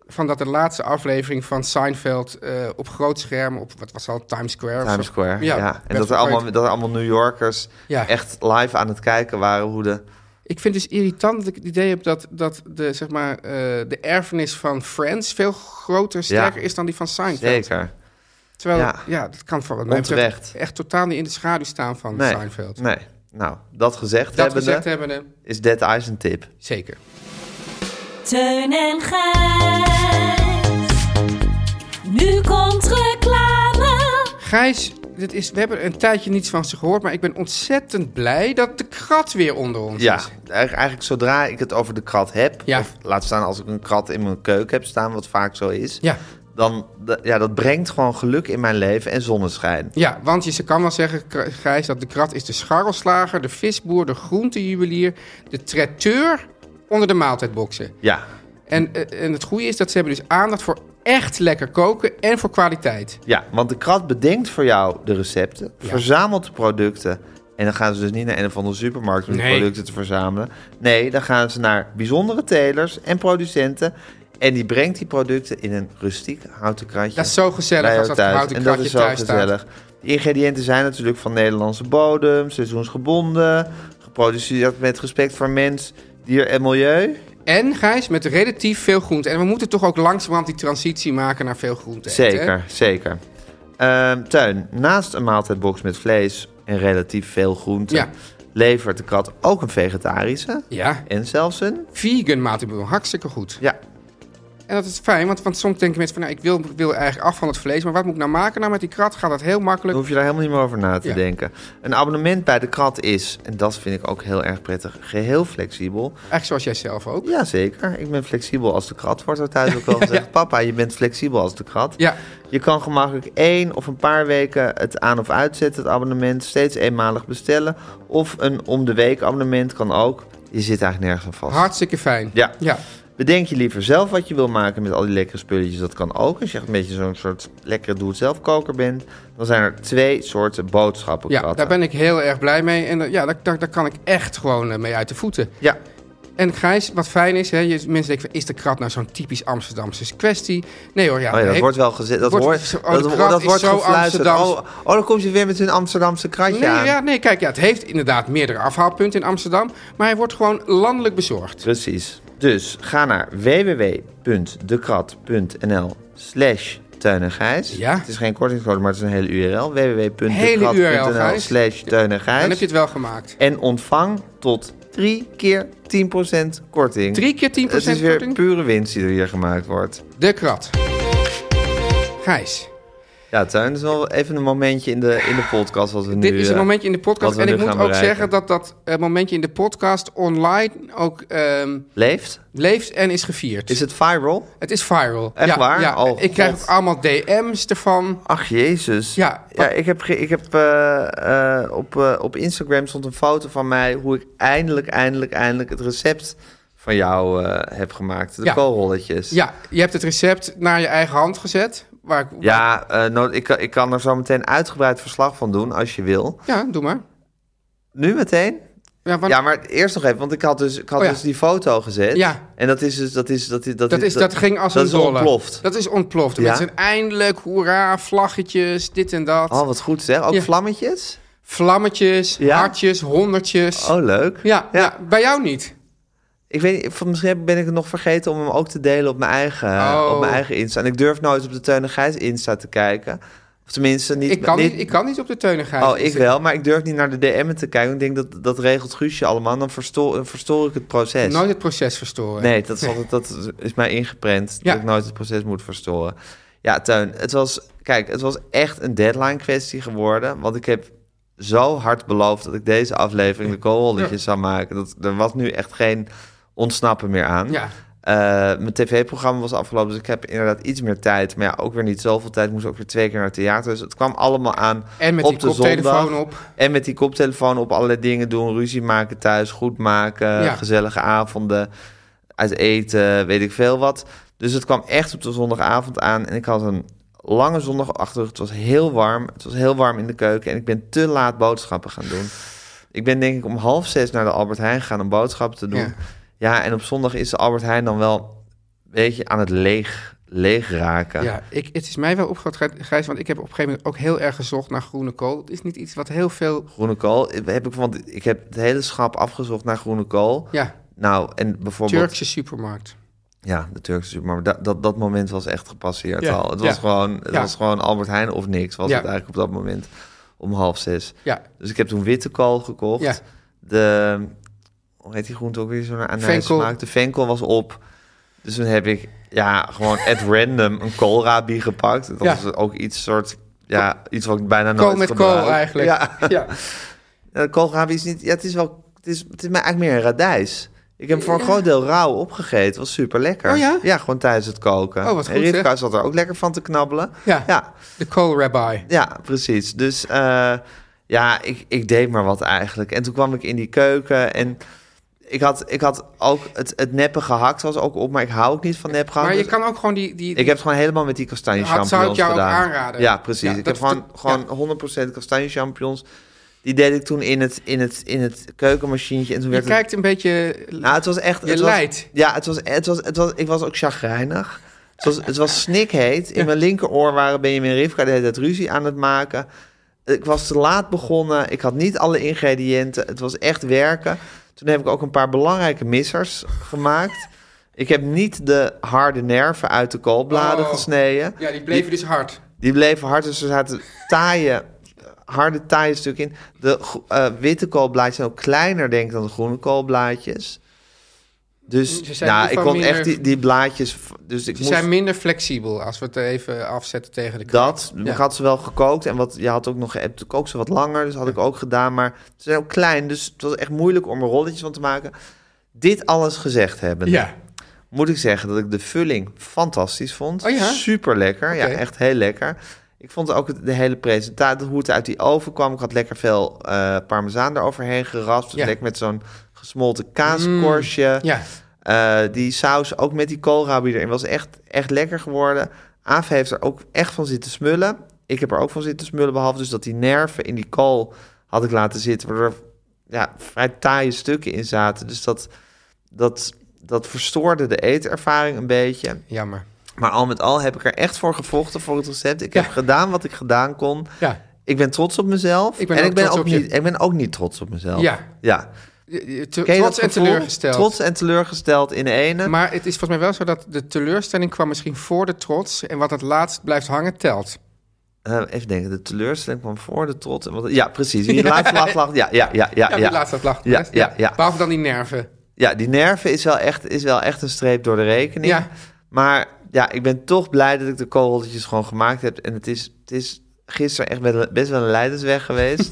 B: Van dat de laatste aflevering van Seinfeld eh, op groot scherm, op wat was dat, Times Square? of
A: Times
B: zo.
A: Square. Ja,
B: werd
A: En dat er, allemaal,
B: gegooid.
A: dat er allemaal New Yorkers
B: Ja.
A: echt live aan het kijken waren hoe de.
B: Ik vind het dus irritant dat ik het idee heb dat, dat de, zeg maar, eh, de erfenis van Friends veel groter en sterker is dan die van Seinfeld.
A: Zeker.
B: Terwijl, ja.
A: Ja.
B: dat kan voor mij betreft
A: Onterecht.
B: echt totaal niet in de schaduw staan van
A: Nee.
B: Seinfeld.
A: Nee. Nou, dat gezegd
B: Dat
A: hebben
B: gezegd hebbende,
A: is Dead Eyes een tip.
B: zeker.
D: Teun en Gijs. Nu komt reclame.
B: Gijs, dit is, we hebben een tijdje niets van ze gehoord, maar ik ben ontzettend blij dat de krat weer onder ons
A: Ja,
B: is.
A: eigenlijk, eigenlijk zodra ik het over de krat heb,
B: Ja.
A: of laat staan als ik een krat in mijn keuken heb staan, wat vaak zo is,
B: Ja.
A: dan d- ja, dat brengt gewoon geluk in mijn leven en zonneschijn.
B: Ja, want je ze kan wel zeggen, Kra- Gijs, dat de krat is de scharrelslager, de visboer, de groentejuwelier, de traiteur onder de maaltijdboxen.
A: Ja,
B: En, eh, en het goede is dat ze hebben dus aandacht voor echt lekker koken en voor kwaliteit.
A: ja, want de krat bedenkt voor jou de recepten, verzamelt de producten. En dan gaan ze dus niet naar een of andere supermarkt om
B: Nee.
A: die producten te verzamelen. Nee, dan gaan ze naar bijzondere telers en producenten. En die brengt die producten in een rustiek houten kratje.
B: Dat is zo gezellig
A: bij
B: als
A: jou
B: dat houten
A: En dat
B: kratje
A: is zo
B: thuis staat.
A: gezellig. De ingrediënten zijn natuurlijk van Nederlandse bodem, seizoensgebonden, geproduceerd met respect voor mens, dier en milieu.
B: En Gijs, met relatief veel groente. En we moeten toch ook langzamerhand die transitie maken naar veel groente. eten, hè?
A: Zeker, zeker. Ehm tuin, naast een maaltijdbox met vlees en relatief veel groenten,
B: Ja.
A: levert de kat ook een vegetarische
B: Ja,
A: en zelfs een...
B: vegan maatregel, hartstikke goed.
A: Ja,
B: En dat is fijn, want, want soms denken mensen van... Nou, ik wil, wil eigenlijk af van het vlees, maar wat moet ik nou maken? Nou, met die krat gaat dat heel
A: dan
B: makkelijk.
A: hoef je daar helemaal niet meer over na te
B: Ja.
A: denken. Een abonnement bij de kat is, en dat vind ik ook heel erg prettig, geheel flexibel.
B: Eigenlijk zoals jij zelf ook.
A: Jazeker, ik ben flexibel als de krat, wordt er thuis ook wel gezegd. Papa, je bent flexibel als de krat.
B: Ja.
A: Je kan gemakkelijk één of een paar weken het aan- of uitzetten, het abonnement, steeds eenmalig bestellen. Of een om de week abonnement kan ook. Je zit eigenlijk nergens aan vast.
B: Hartstikke fijn.
A: Ja.
B: ja.
A: Bedenk je liever zelf wat je wil maken met al die lekkere spulletjes. Dat kan ook. Als je echt een beetje zo'n soort lekkere doe-het-zelf-koker bent, dan zijn er twee soorten boodschappenkratten.
B: Ja, daar ben ik heel erg blij mee. En eh, ja, daar, daar, daar kan ik echt gewoon eh, mee uit de voeten.
A: Ja,
B: En Gijs, wat fijn is, hè, je, mensen denken van, is de krat nou zo'n typisch Amsterdamse kwestie? Nee hoor, ja.
A: Oh ja, dat
B: he-
A: wordt wel gezegd. Dat,
B: wordt-
A: wordt,
B: oh, de
A: dat,
B: krat
A: dat
B: is
A: wordt
B: zo
A: gefluisterd.
B: Amsterdams.
A: Oh, oh, dan komt je weer met hun Amsterdamse kratje
B: Nee,
A: aan.
B: ja, nee, kijk, ja, het heeft inderdaad meerdere afhaalpunten in Amsterdam, maar hij wordt gewoon landelijk bezorgd.
A: Precies. Dus ga naar www.dekrat.nl slash Teun en Gijs.
B: Ja.
A: Het is geen kortingscode, maar het is een hele URL.
B: Hele URL,
A: www.dekrat.nl
B: Gijs.
A: slash Teun en Gijs.
B: Dan heb je het wel gemaakt.
A: En ontvang tot drie keer 10% korting.
B: Drie keer 10%
A: Het is weer
B: korting?
A: pure winst die er hier gemaakt wordt.
B: De krat. Gijs,
A: Ja, Teun, dat is wel even een momentje in de, in de podcast wat we nu...
B: dit is een
A: eh,
B: momentje in de
A: wat
B: podcast.
A: we
B: En
A: nu
B: ik moet ook
A: gaan bereiken.
B: zeggen dat dat eh, momentje in de podcast online ook ehm,
A: Leeft?
B: leeft en is gevierd.
A: Is het viral?
B: Het is viral.
A: Echt
B: ja,
A: waar?
B: Ja.
A: Oh,
B: ik krijg
A: God.
B: ook allemaal DM's ervan.
A: Ach jezus.
B: Ja,
A: ja ik heb, ge- ik heb eh, eh, op, eh, op Instagram stond een foto van mij hoe ik eindelijk, eindelijk, eindelijk het recept van jou eh, heb gemaakt. De
B: Ja.
A: koolrolletjes.
B: Ja, je hebt het recept naar je eigen hand gezet. Waar ik,
A: Ja, eh, nou, ik, kan- ik kan er zo meteen uitgebreid verslag van doen als je wil.
B: Ja, doe maar.
A: Nu meteen?
B: Ja, want
A: Ja, maar eerst nog even, want ik had dus, ik had
B: Oh ja.
A: dus die foto gezet.
B: Ja.
A: En dat is dus, dat is, dat is, dat,
B: dat,
A: is,
B: is, dat, ging als
A: dat
B: een
A: is
B: dolle.
A: ontploft.
B: Dat is ontploft. De
A: Ja.
B: Mensen eindelijk, hoera, vlaggetjes, dit en dat.
A: Oh, wat goed zeg. Ook
B: Ja.
A: vlammetjes?
B: Vlammetjes,
A: Ja.
B: hartjes, honderdjes.
A: Oh, leuk.
B: ja, ja.
A: ja.
B: bij jou niet.
A: Ik weet niet, van- misschien ben ik het nog vergeten om hem ook te delen op mijn eigen,
B: Oh.
A: op mijn eigen Insta. En ik durf nooit op de Teun en Gijs Insta te kijken. Of tenminste niet...
B: Ik kan niet, ik kan niet op de dus teunigheid.
A: Oh, ik wel, maar ik durf niet naar de DM'en te kijken. Ik denk dat dat regelt Guusje allemaal. Dan verstoor, dan verstoor ik het proces.
B: Nooit het proces verstoren.
A: Nee, dat is, altijd, dat is mij ingeprent.
B: Ja.
A: Dat ik nooit het proces moet verstoren. Ja, Teun, het was... Kijk, het was echt een deadline kwestie geworden. Want ik heb zo hard beloofd dat ik deze aflevering de koolrolletjes zou maken. Dat, er was nu echt geen ontsnappen meer aan.
B: Ja.
A: Eh, mijn tv-programma was afgelopen, dus ik heb inderdaad iets meer tijd. Maar ja, ook weer niet zoveel tijd. Ik moest ook weer twee keer naar het theater. Dus het kwam allemaal aan
B: En met
A: op
B: die
A: de
B: koptelefoon
A: zondag.
B: op.
A: En met die koptelefoon op allerlei dingen doen. Ruzie maken thuis, goed maken,
B: Ja.
A: gezellige avonden, uit eten, weet ik veel wat. Dus het kwam echt op de zondagavond aan. En ik had een lange zondag achter. de rug. Het was heel warm. Het was heel warm in de keuken. En ik ben te laat boodschappen gaan doen. Ik ben denk ik om half zes naar de Albert Heijn gegaan om boodschappen te doen.
B: Ja.
A: Ja, en op zondag is de Albert Heijn dan wel een beetje aan het leeg, leeg raken.
B: Ja, ik, het is mij wel opgevallen, Gijs, want ik heb op een gegeven moment ook heel erg gezocht naar groene kool. Het is niet iets wat heel veel...
A: Groene kool eh, heb ik, want ik heb het hele schap afgezocht naar groene kool.
B: Ja,
A: Nou, en bijvoorbeeld...
B: Turkse supermarkt.
A: Ja, de Turkse supermarkt. Dat, dat, dat moment was echt gepasseerd
B: Ja,
A: al. Het, was,
B: ja.
A: gewoon, het
B: Ja.
A: was gewoon Albert Heijn of niks, was
B: Ja.
A: het eigenlijk op dat moment om half zes.
B: Ja,
A: Dus ik heb toen witte kool gekocht.
B: Ja.
A: De, hoe heet die groente ook weer? Zo'n
B: Venkel.
A: anijssmaak. De venkel was op. Dus toen heb ik ja, gewoon at random een koolrabi gepakt. Dat
B: Ja.
A: was ook iets soort... Ja, iets wat ik bijna
B: kool
A: nooit
B: met
A: gebruik.
B: kool eigenlijk.
A: Ja,
B: ja.
A: ja, koolrabi Eh, is niet... Ja, het is wel... Het is, het is mij eigenlijk meer een radijs. Ik heb voor een groot deel rauw opgegeten. Het was super lekker.
B: Oh ja?
A: gewoon tijdens het koken.
B: Oh, wat
A: En
B: goed,
A: Rivka
B: zeg.
A: zat er ook lekker van te knabbelen.
B: Ja.
A: Ja,
B: de koolrabbi.
A: ja, precies. Dus eh, ja, ik, ik deed maar wat eigenlijk. En toen kwam ik in die keuken en ik had, ik had ook het, het neppe gehakt was ook op, maar ik hou ook niet van nep gehakt.
B: Maar je
A: Dus
B: kan ook gewoon die... die
A: Ik heb het gewoon helemaal met die kastanje
B: Had- zou ik
A: champignons
B: jou ook
A: gedaan.
B: aanraden?
A: Ja, precies.
B: Ja,
A: ik
B: dat-
A: heb gewoon,
B: dat- ja.
A: gewoon 100% kastanje champignons. Die deed ik toen in het, in het, in het keukenmachientje. En toen
B: je
A: werd het
B: kijkt een beetje...
A: nou, het was echt.
B: Je
A: het was-
B: lijdt.
A: Ja, het was, het was, het was, ik was ook chagrijnig. Het was, het was snikheet. In mijn linkeroor waren Benjamin en Rivka de hele tijd ruzie aan het maken. Ik was te laat begonnen. Ik had niet alle ingrediënten. Het was echt werken. Toen heb ik ook een paar belangrijke missers gemaakt. Ik heb niet de harde nerven uit de koolbladen
B: Oh.
A: gesneden.
B: Ja, die bleven dus hard.
A: Die bleven hard, dus er zaten taaie, harde taaie stukken in. De gro- eh, witte koolblaadjes zijn ook kleiner, denk ik, dan de groene koolblaadjes. Dus
B: Ze zijn in
A: nou,
B: ieder
A: ik
B: geval
A: kon echt
B: minder-
A: die, die blaadjes... v- Dus ik
B: Ze
A: moest
B: zijn minder flexibel, als we het even afzetten tegen de krant.
A: dat.
B: Ja.
A: Ik had ze wel gekookt en wat, je had ook nog geappt. Ik kook ze wat langer, dus had ik ook gedaan. Maar ze zijn ook klein, dus het was echt moeilijk om er rolletjes van te maken. Dit alles gezegd hebben.
B: Ja.
A: moet ik zeggen dat ik de vulling fantastisch vond.
B: Oh ja?
A: Super lekker.
B: Oké.
A: Ja, echt heel lekker. Ik vond ook het- de hele presentatie, hoe het uit die oven kwam. Ik had lekker veel eh parmezaan eroverheen geraspt. Dus
B: Ja. Mm,
A: lekker met zo'n gesmolten kaaskorstje.
B: Ja,
A: Eh, die saus ook met die koolrabi erin was echt, echt lekker geworden. Aaf heeft er ook echt van zitten smullen. Ik heb er ook van zitten smullen. Behalve dus dat die nerven in die kool had ik laten zitten. Waardoor er ja, vrij taaie stukken in zaten. Dus dat, dat, dat verstoorde de eetervaring een beetje.
B: jammer.
A: Maar al met al heb ik er echt voor gevochten voor het recept. Ik
B: Ja.
A: heb gedaan wat ik gedaan kon.
B: Ja.
A: Ik ben trots op mezelf.
B: Ik ben
A: en
B: ook
A: ik ben,
B: trots
A: ook
B: op je.
A: niet, ik ben ook niet trots op mezelf.
B: Ja.
A: ja.
B: Je- je- te-
A: Ken je
B: Trots
A: dat
B: en
A: gevoel?
B: teleurgesteld.
A: Trots en teleurgesteld in de ene.
B: Maar het is volgens mij wel zo dat de teleurstelling kwam misschien voor de trots. En wat het laatst blijft hangen, telt.
A: Eh, even denken, de teleurstelling kwam voor de trots. en wat- Ja, precies. Die laatste lach, lach. Ja, ja, ja, ja.
B: Ja,
A: Ja,
B: die laatste dat lacht.
A: Ja, ja, ja.
B: Behalve dan die nerven.
A: Ja, die nerven is wel, echt, is wel echt een streep door de rekening.
B: Ja.
A: Maar ja, ik ben toch blij dat ik de korreltjes gewoon gemaakt heb. En het is, het is gisteren echt wel- best wel een leidersweg geweest.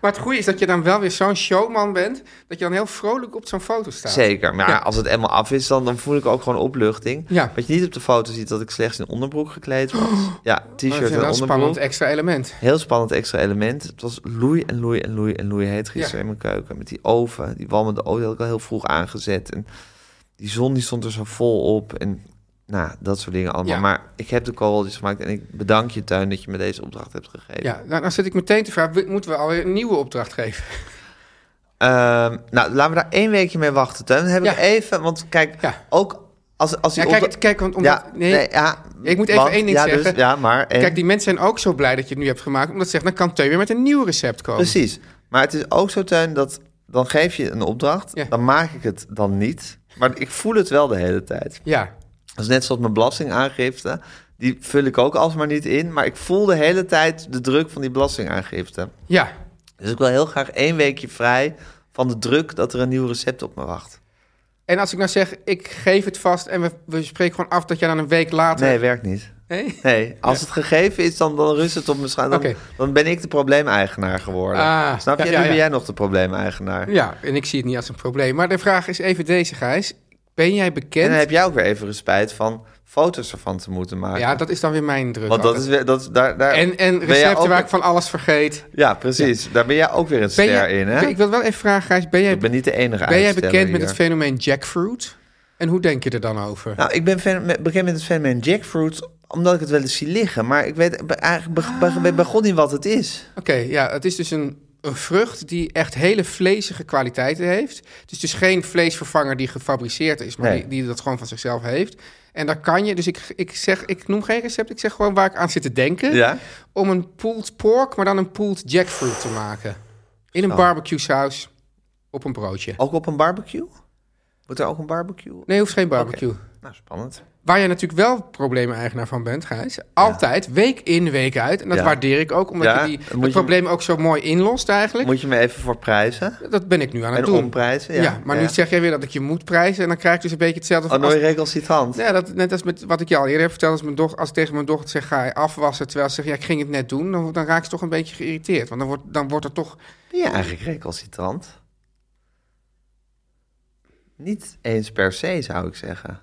B: Maar het goede is dat je dan wel weer zo'n showman bent... dat je dan heel vrolijk op zo'n foto staat.
A: Zeker. Maar
B: Ja.
A: als het helemaal af is, dan, dan voel ik ook gewoon opluchting.
B: Ja.
A: Wat je niet op de foto ziet, dat ik slechts in onderbroek gekleed was. Ja,
B: Maar Oh, dat
A: t-shirt
B: is wel
A: en
B: een spannend
A: onderbroek.
B: extra element.
A: Heel spannend extra element. Het was loei en loei en loei en loei heet gisteren
B: Ja.
A: in mijn keuken. Met die oven, die walmende oven, die had ik al heel vroeg aangezet. En die zon die stond er zo vol op. En nou, dat soort dingen allemaal.
B: Ja.
A: Maar ik heb de korreltjes gemaakt. En ik bedank je, Tuin, dat je me deze opdracht hebt gegeven.
B: Ja, nou, nou zit ik meteen te vragen, we- moeten we alweer een nieuwe opdracht geven?
A: Ehm, nou, laten we daar één weekje mee wachten, Tuin. Dan heb
B: Ja.
A: ik even... Want kijk,
B: Ja.
A: ook als, als die
B: Ja, kijk,
A: opdra-
B: het- kijk, want omdat...
A: ja,
B: nee,
A: nee, ja,
B: ik moet even
A: want-
B: één ding
A: ja,
B: zeggen.
A: Dus, ja, maar... en-
B: Kijk, die mensen zijn ook zo blij dat je het nu hebt gemaakt... omdat ze zeggen, dan kan Teu weer met een nieuw recept komen.
A: Precies. Maar het is ook zo, Teun, dat dan geef je een opdracht,
B: Ja.
A: dan maak ik het dan niet. Maar ik voel het wel de hele tijd.
B: Ja,
A: Dat is net zoals mijn belastingaangifte. Die vul ik ook alsmaar niet in. Maar ik voel de hele tijd de druk van die belastingaangifte.
B: ja.
A: Dus ik wil heel graag één weekje vrij van de druk dat er een nieuw recept op me wacht.
B: En als ik nou zeg, ik geef het vast en we, we spreken gewoon af dat jij dan een week later...
A: Nee, werkt niet.
B: Nee?
A: Nee, als het gegeven is, dan, dan rust het op mijn schouder. Dan,
B: Oké.
A: dan ben ik de probleemeigenaar geworden.
B: Ah,
A: Snap je?
B: ja,
A: nu
B: ja,
A: ben
B: ja.
A: jij nog de probleemeigenaar.
B: Ja, en ik zie het niet als een probleem. Maar de vraag is even deze, Gijs. Ben jij
A: En
B: bekend?
A: dan heb jij ook weer even respijt van foto's ervan te moeten maken.
B: Ja, dat is dan weer mijn druk.
A: Want dat
B: altijd.
A: is weer, dat, is- daar, daar
B: En, en
A: ben jij
B: recepten
A: ook-
B: waar ik van alles vergeet.
A: Ja, precies. Daar ben jij ook weer een
B: Ben
A: ster
B: jij,
A: in, hè?
B: ben- Ik wil wel even vragen, Gijs. Ben jij,
A: ik ben niet de enige
B: ben jij
A: uitsteller
B: bekend met
A: hier.
B: het fenomeen jackfruit? En hoe denk je er dan over?
A: Nou, ik ben fan- met- bekend met het fenomeen jackfruit Omdat ik het wel eens zie liggen. Maar ik weet bij- eigenlijk bij,
B: Ah.
A: bij, bij- bij God niet wat het is.
B: Oké, ja, het is dus een, een vrucht die echt hele vleesige kwaliteiten heeft. Het is dus geen vleesvervanger die gefabriceerd is, maar
A: Nee.
B: die, die dat gewoon van zichzelf heeft. En daar kan je, dus ik, ik, zeg, ik noem geen recept, ik zeg gewoon waar ik aan zit te denken.
A: Ja?
B: Om een pulled pork, maar dan een pulled jackfruit te maken. In
A: Oh.
B: een barbecue saus op een broodje.
A: Ook op een barbecue? Moet er ook een barbecue?
B: Nee, hoeft geen barbecue.
A: Nou, spannend.
B: Waar je natuurlijk wel probleem-eigenaar van bent, Gijs. Altijd, week in, week uit. En dat
A: Ja.
B: waardeer ik ook, omdat
A: Ja,
B: je die,
A: dan
B: het
A: moet je-
B: probleem ook zo mooi inlost eigenlijk.
A: Moet je me even voor prijzen?
B: Dat ben ik nu aan het
A: En
B: doen.
A: omprijzen?
B: Ja,
A: Ja,
B: maar
A: ja.
B: nu zeg jij weer dat ik je moet prijzen. En dan krijg ik dus een beetje hetzelfde. van
A: Oh, nooit
B: als-
A: recalcitrant.
B: ja, dat, net als met wat ik je al eerder heb verteld. Als, mijn doch, als ik tegen mijn dochter zeg, ga je afwassen. Terwijl ze zegt, ja, ik ging het net doen. Dan, dan raak ze toch een beetje geïrriteerd. Want dan wordt, dan wordt er toch...
A: Ben je eigenlijk recalcitrant? Niet eens per se, zou ik zeggen.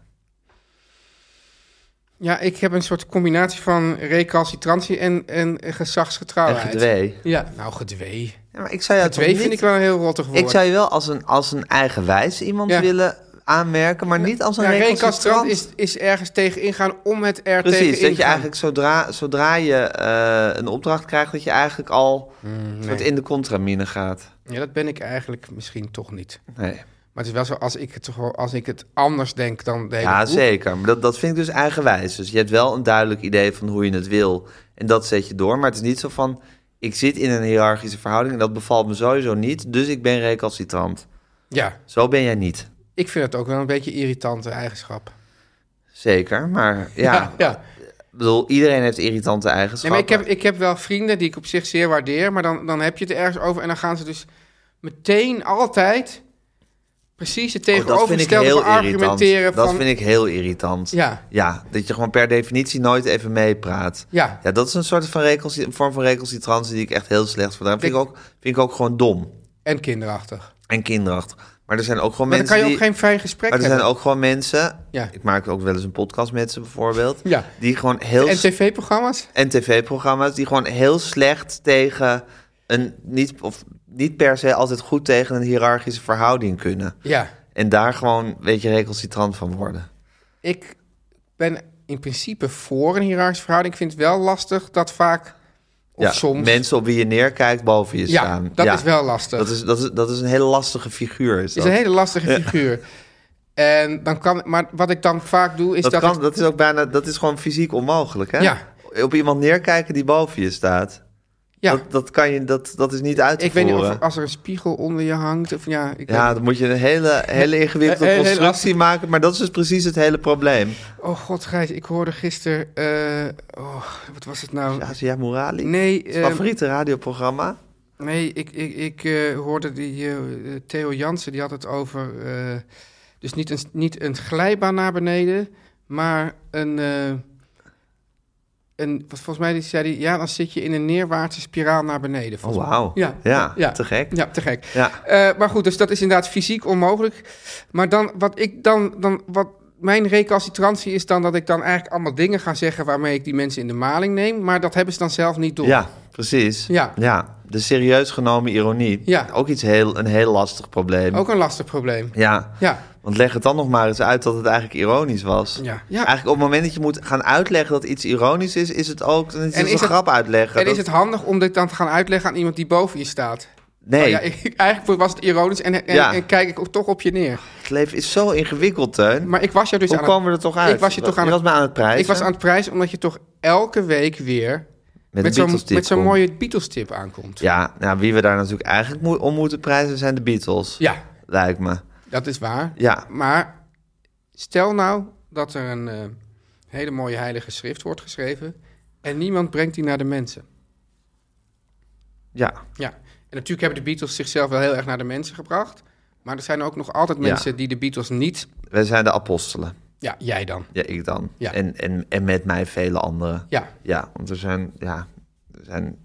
B: Ja, ik heb een soort combinatie van recalcitrantie en, en
A: En
B: gezagsgetrouwheid.
A: gedwee.
B: Ja, nou, gedwee.
A: Ja, maar ik zou jou
B: Gedwee
A: toch
B: vind
A: niet-
B: ik wel een heel rottig woord.
A: Ik zou je wel als een, als een eigenwijs iemand
B: Ja.
A: willen aanmerken, maar niet als een
B: Ja,
A: recalcitrant.
B: recalcitrant is, is ergens tegen ingaan om het er tegen
A: Precies, dat je
B: ingaan.
A: eigenlijk zodra, zodra je eh, een opdracht krijgt, dat je eigenlijk al
B: Mm,
A: soort in de contramine gaat.
B: Ja, dat ben ik eigenlijk misschien toch niet.
A: Nee.
B: Maar het is wel zo, als ik het, toch wel- als ik het anders denk dan de hele
A: Ja,
B: groep,
A: zeker. Maar dat, dat vind ik dus eigenwijs. Dus je hebt wel een duidelijk idee van hoe je het wil. En dat zet je door. Maar het is niet zo van, ik zit in een hiërarchische verhouding en dat bevalt me sowieso niet. Dus ik ben recalcitrant.
B: Ja,
A: Zo ben jij niet.
B: ik vind het ook wel een beetje een irritante eigenschap.
A: Zeker, maar ja,
B: ja.
A: Ik bedoel, iedereen heeft irritante
B: Nee,
A: eigenschappen.
B: maar ik heb, ik heb wel vrienden die ik op zich zeer waardeer, maar dan, dan heb je het ergens over en dan gaan ze dus meteen altijd precies het
A: Oh, dat vind ik
B: tegenovergestelde
A: heel
B: argumenteren
A: irritant. Dat
B: van...
A: vind ik heel irritant.
B: Ja,
A: Ja, dat je gewoon per definitie nooit even meepraat.
B: ja.
A: Ja, dat is een soort van recalci- vorm van recalcitrantie die ik echt heel slecht vind. Dat vind ik ook, vind ik ook gewoon dom
B: En kinderachtig.
A: en kinderachtig. Maar er zijn ook gewoon
B: Maar dan
A: mensen
B: kan je ook
A: die...
B: geen fijn gesprek
A: Maar er
B: hebben.
A: zijn ook gewoon mensen...
B: Ja.
A: Ik maak ook wel eens een podcast met ze bijvoorbeeld.
B: Ja.
A: Die gewoon heel...
B: En tv-programma's?
A: en tv-programma's die gewoon heel slecht tegen een... Niet, of niet per se altijd goed tegen een hiërarchische verhouding kunnen.
B: Ja.
A: En daar gewoon een beetje recalcitrant van worden.
B: Ik ben in principe voor een hiërarchische verhouding. Ik vind het wel lastig dat vaak, of
A: ja,
B: soms...
A: Mensen op wie je neerkijkt boven je
B: ja,
A: staan.
B: dat is wel lastig.
A: Dat is, dat, is, dat is een hele lastige figuur. Is
B: Het
A: dat.
B: is een hele lastige figuur. En dan kan, maar wat ik dan vaak doe, is
A: dat,
B: dat,
A: kan,
B: ik-
A: dat is ook bijna dat is gewoon fysiek onmogelijk. Hè?
B: Ja.
A: Op iemand neerkijken die boven je staat.
B: ja,
A: Dat, dat, kan je, dat, dat is niet uit te
B: ik weet niet of
A: voeren.
B: als er een spiegel onder je hangt, of ja, ik
A: Ja,
B: weet
A: dan moet je een hele, hele ingewikkelde
B: He- he- hele
A: constructie
B: lastig.
A: maken. Maar dat is dus precies het hele probleem.
B: niet. Oh god, Gijs, ik hoorde gisteren, oh, wat was het nou?
A: Azia Murali,
B: Nee,
A: het
B: eh,
A: favoriete radioprogramma.
B: Nee, ik, ik, ik eh, hoorde die eh, Theo Jansen, die had het over. eh, dus niet een, niet een glijbaan naar beneden, maar een. eh, een wat volgens mij zei hij, ja, dan zit je in een neerwaartse spiraal naar beneden.
A: Oh,
B: volgens mij.
A: wauw.
B: Ja,
A: ja,
B: ja.
A: te gek.
B: Ja, te gek.
A: Ja.
B: Eh, maar goed, dus dat is inderdaad fysiek onmogelijk. Maar dan, wat ik dan, dan wat mijn recalcitrantie is dan dat ik dan eigenlijk allemaal dingen ga zeggen waarmee ik die mensen in de maling neem. Maar dat hebben ze dan zelf niet door.
A: Ja, precies.
B: Ja.
A: de serieus genomen ironie.
B: Ja.
A: Ook iets heel, een heel lastig probleem.
B: Ook een lastig probleem.
A: Ja.
B: Ja.
A: want leg het dan nog maar eens uit dat het eigenlijk ironisch was.
B: Ja. Ja.
A: Eigenlijk op het moment dat je moet gaan uitleggen dat iets ironisch is, is het ook dan is
B: En
A: het
B: is
A: een
B: het-
A: grap uitleggen.
B: En
A: Dat-
B: is het handig om dit dan te gaan uitleggen aan iemand die boven je staat?
A: Nee,
B: Oh ja, ik- eigenlijk was het ironisch en, en,
A: Ja.
B: en kijk ik ook toch op je neer.
A: het leven is zo ingewikkeld, Teun.
B: Maar ik was jou dus
A: Hoe
B: aan het-
A: kwamen we er toch uit?
B: Ik was je toch aan
A: Je
B: het,
A: was me aan het prijzen.
B: ik was aan het prijs omdat je toch elke week weer
A: met,
B: met
A: een
B: zo'n
A: Beatles-tip
B: met zo'n
A: kom.
B: mooie Beatles-tip aankomt.
A: Ja, nou, wie we daar natuurlijk eigenlijk moe- om moeten prijzen zijn de Beatles,
B: Ja,
A: lijkt me.
B: dat is waar.
A: Ja,
B: Maar stel nou dat er een eh, hele mooie heilige schrift wordt geschreven en niemand brengt die naar de mensen.
A: ja.
B: Ja, en natuurlijk hebben de Beatles zichzelf wel heel erg naar de mensen gebracht. Maar er zijn ook nog altijd mensen die de Beatles niet...
A: Wij zijn de apostelen.
B: Ja, jij dan.
A: Ja, ik dan.
B: Ja.
A: En, en, en met mij vele anderen.
B: Ja,
A: Ja, want er zijn, ja, er zijn,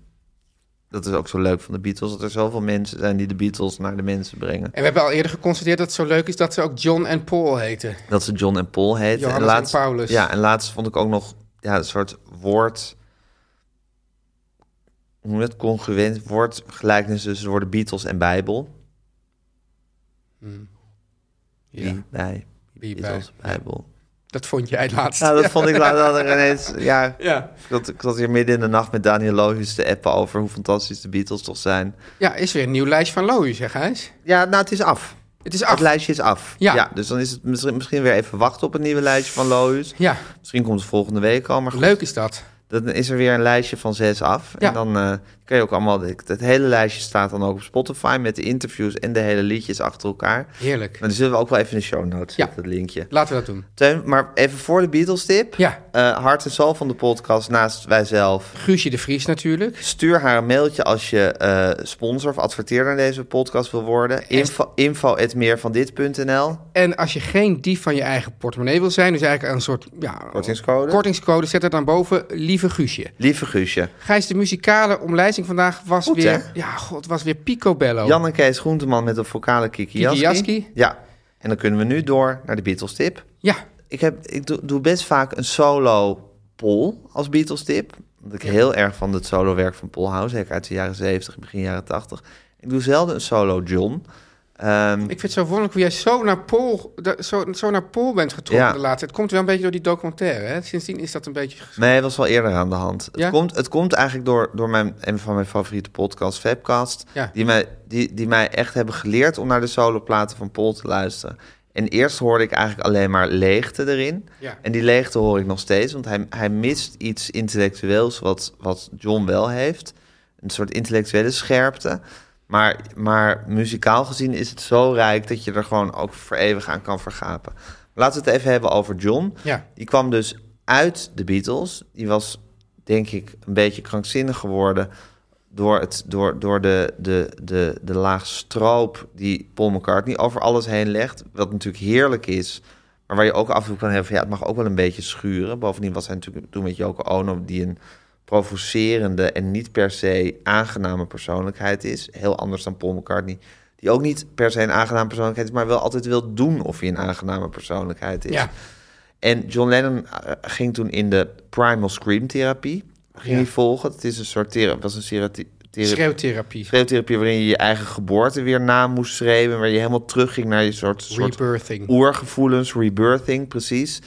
A: dat is ook zo leuk van de Beatles, dat er zoveel mensen zijn die de Beatles naar de mensen brengen.
B: En we hebben al eerder geconstateerd dat het zo leuk is dat ze ook John en Paul heten.
A: Dat ze John en Paul heten.
B: Johannes en Paulus.
A: Ja, en laatst vond ik ook nog ja, een soort woord, hoe noem je dat, congruent, woord, gelijkenis tussen de woorden Beatles en Bijbel.
B: Ja.
A: Bij,
B: Wie
A: Beatles,
B: Hmm. bij.
A: Bijbel.
B: Dat vond jij laatst.
A: Ja, dat vond ik later ineens... Ja,
B: Ja.
A: ik zat, ik zat hier midden in de nacht met Daniel Lohuis te appen over hoe fantastisch de Beatles toch zijn.
B: Ja, is weer een nieuw lijst van Loïs, zeg Gijs.
A: Ja, nou, het is af.
B: Het is
A: Het
B: af.
A: lijstje is af.
B: Ja.
A: dus dan is het misschien, misschien weer even wachten op een nieuwe lijstje van Lohuis.
B: Ja,
A: Misschien komt het volgende week al, maar goed.
B: leuk is dat.
A: Dan is er weer een lijstje van zes af.
B: Ja.
A: En dan eh, kan je ook allemaal... Het hele lijstje staat dan ook op Spotify met de interviews en de hele liedjes achter elkaar.
B: Heerlijk.
A: Maar dan zullen we ook wel even in de show notes
B: Ja.
A: zetten, dat linkje.
B: Laten we dat doen.
A: Teun, maar even voor de Beatles tip.
B: Ja.
A: Eh, hart en zal van de podcast naast wijzelf.
B: Guusje de Vries natuurlijk.
A: Stuur haar een mailtje als je eh, sponsor of adverteerder aan deze podcast wil worden. Info, info van dit.nl.
B: En als je geen dief van je eigen portemonnee wil zijn, dus eigenlijk een soort ja,
A: Kortingscode.
B: kortingscode, zet het dan boven, lieve Guusje.
A: Lieve Guusje.
B: Gijs, de muzikale omlijsting vandaag was
A: Goed,
B: weer,
A: hè?
B: ja, god, was weer picobello.
A: Jan en Kees Groenteman met een vocale Kikiaski.
B: Kikiaski.
A: Ja. En dan kunnen we nu door naar de Beatles tip.
B: Ja,
A: Ik, heb, ik doe, doe best vaak een solo poll als Beatles tip. Omdat ik heel erg van het solo werk van Paul hou. Zeker uit de jaren 70, begin jaren 80. Ik doe zelden een solo John. Ehm,
B: ik vind het zo wonderlijk hoe jij zo naar Pool, da- zo, zo naar Pool bent getrokken
A: Ja.
B: de laatste Het komt wel een beetje door die documentaire. Hè? Sindsdien is dat een beetje... ges-
A: Nee, dat was wel eerder aan de hand.
B: Ja?
A: Het, komt, het komt eigenlijk door, door mijn, een van mijn favoriete podcasts, Fabcast.
B: Ja.
A: Die, mij, die, die mij echt hebben geleerd om naar de soloplaten van Paul te luisteren. En eerst hoorde ik eigenlijk alleen maar leegte erin.
B: Ja.
A: En die leegte hoor ik nog steeds, want hij, hij mist iets intellectueels wat, wat John wel heeft. Een soort intellectuele scherpte. Maar, maar muzikaal gezien is het zo rijk dat je er gewoon ook voor eeuwig aan kan vergapen. Laten we het even hebben over John.
B: Ja.
A: Die kwam dus uit de Beatles. Die was, denk ik, een beetje krankzinnig geworden door, het, door, door de, de, de, de laag stroop die Paul McCartney over alles heen legt. Wat natuurlijk heerlijk is, maar waar je ook af en toe kan hebben van ja, het mag ook wel een beetje schuren. Bovendien was hij natuurlijk toen met Yoko Ono die een provocerende en niet per se aangename persoonlijkheid is. Heel anders dan Paul McCartney, die ook niet per se een aangename persoonlijkheid is, maar wel altijd wil doen of hij een aangename persoonlijkheid is.
B: Ja.
A: En John Lennon eh, ging toen in de primal scream therapie. Ging hij volgen. Het is een soort thera- was een therapie,
B: Schreeuwtherapie.
A: schreeuwtherapie waarin je je eigen geboorte weer na moest schreeuwen. Waar je helemaal terugging naar je soort, soort
B: Rebirthing.
A: oergevoelens, rebirthing, precies.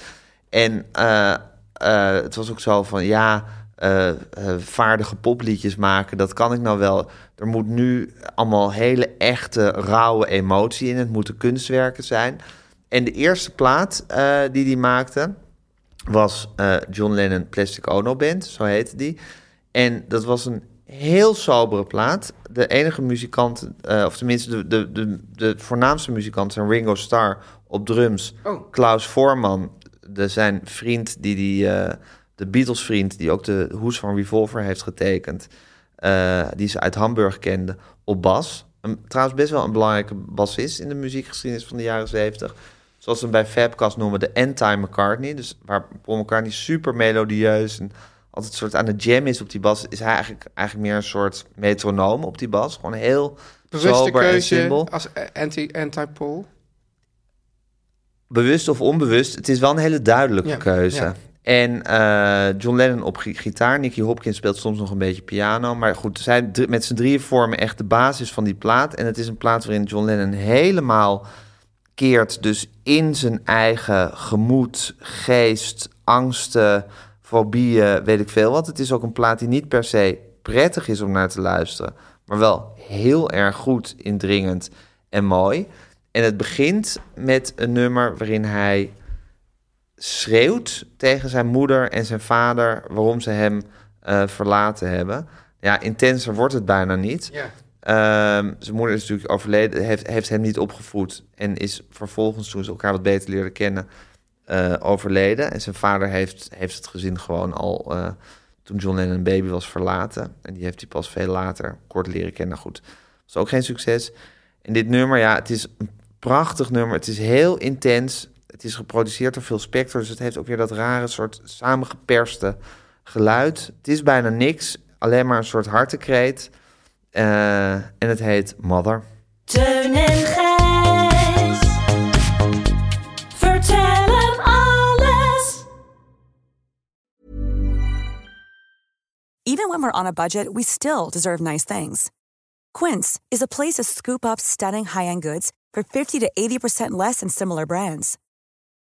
A: En eh, eh, het was ook zo van, ja, eh, eh, vaardige popliedjes maken, dat kan ik nou wel. Er moet nu allemaal hele echte, rauwe emotie in. Het moeten kunstwerken zijn. En de eerste plaat eh, die die maakte was eh, John Lennon Plastic Ono Band, zo heette die. En dat was een heel sobere plaat. De enige muzikant, eh, of tenminste de, de, de, de voornaamste muzikant zijn Ringo Starr op drums.
B: Oh.
A: Klaus Voorman, de, zijn vriend, die, die, eh, de Beatles vriend, die ook de hoes van Revolver heeft getekend. eh, die ze uit Hamburg kende, op bas. Een, trouwens best wel een belangrijke bassist in de muziekgeschiedenis van de jaren 70. Zoals ze hem bij Fabcast noemen, de anti-McCartney. Dus waar Paul McCartney super melodieus en altijd soort aan de jam is op die bas... is hij eigenlijk, eigenlijk meer een soort metronoom op die bas. Gewoon heel
B: Bewuste
A: sober en
B: keuze
A: simpel
B: als eh, anti- anti-Pool.
A: bewust of onbewust, het is wel een hele duidelijke
B: Ja,
A: keuze.
B: ja.
A: En eh, John Lennon op gi- gitaar, Nicky Hopkins speelt soms nog een beetje piano. Maar goed, zij dr- met z'n drieën vormen echt de basis van die plaat. En het is een plaat waarin John Lennon helemaal keert dus in zijn eigen gemoed, geest, angsten, fobieën, weet ik veel wat. Het is ook een plaat die niet per se prettig is om naar te luisteren, maar wel heel erg goed, indringend en mooi. En het begint met een nummer waarin hij schreeuwt tegen zijn moeder en zijn vader waarom ze hem eh, verlaten hebben. Ja, intenser wordt het bijna niet.
B: Ja.
A: Ehm, zijn moeder is natuurlijk overleden, heeft, heeft hem niet opgevoed. En is vervolgens, toen ze elkaar wat beter leerden kennen, eh, overleden. En zijn vader heeft, heeft het gezin gewoon al eh, toen John Lennon een baby was verlaten. En die heeft hij pas veel later kort leren kennen. Goed, was ook geen succes. En dit nummer, ja, het is een prachtig nummer. Het is heel intens. Het is geproduceerd door Phil Spector. Dus het heeft ook weer dat rare soort samengeperste geluid. Het is bijna niks. Alleen maar een soort hartekreet. Eh, en het heet Mother.
D: Teun en Gijs. Vertel hem alles.
F: Even when we're on a budget, we still deserve nice things. Quince is a place to scoop up stunning high end goods for 50 to 80% less than similar brands.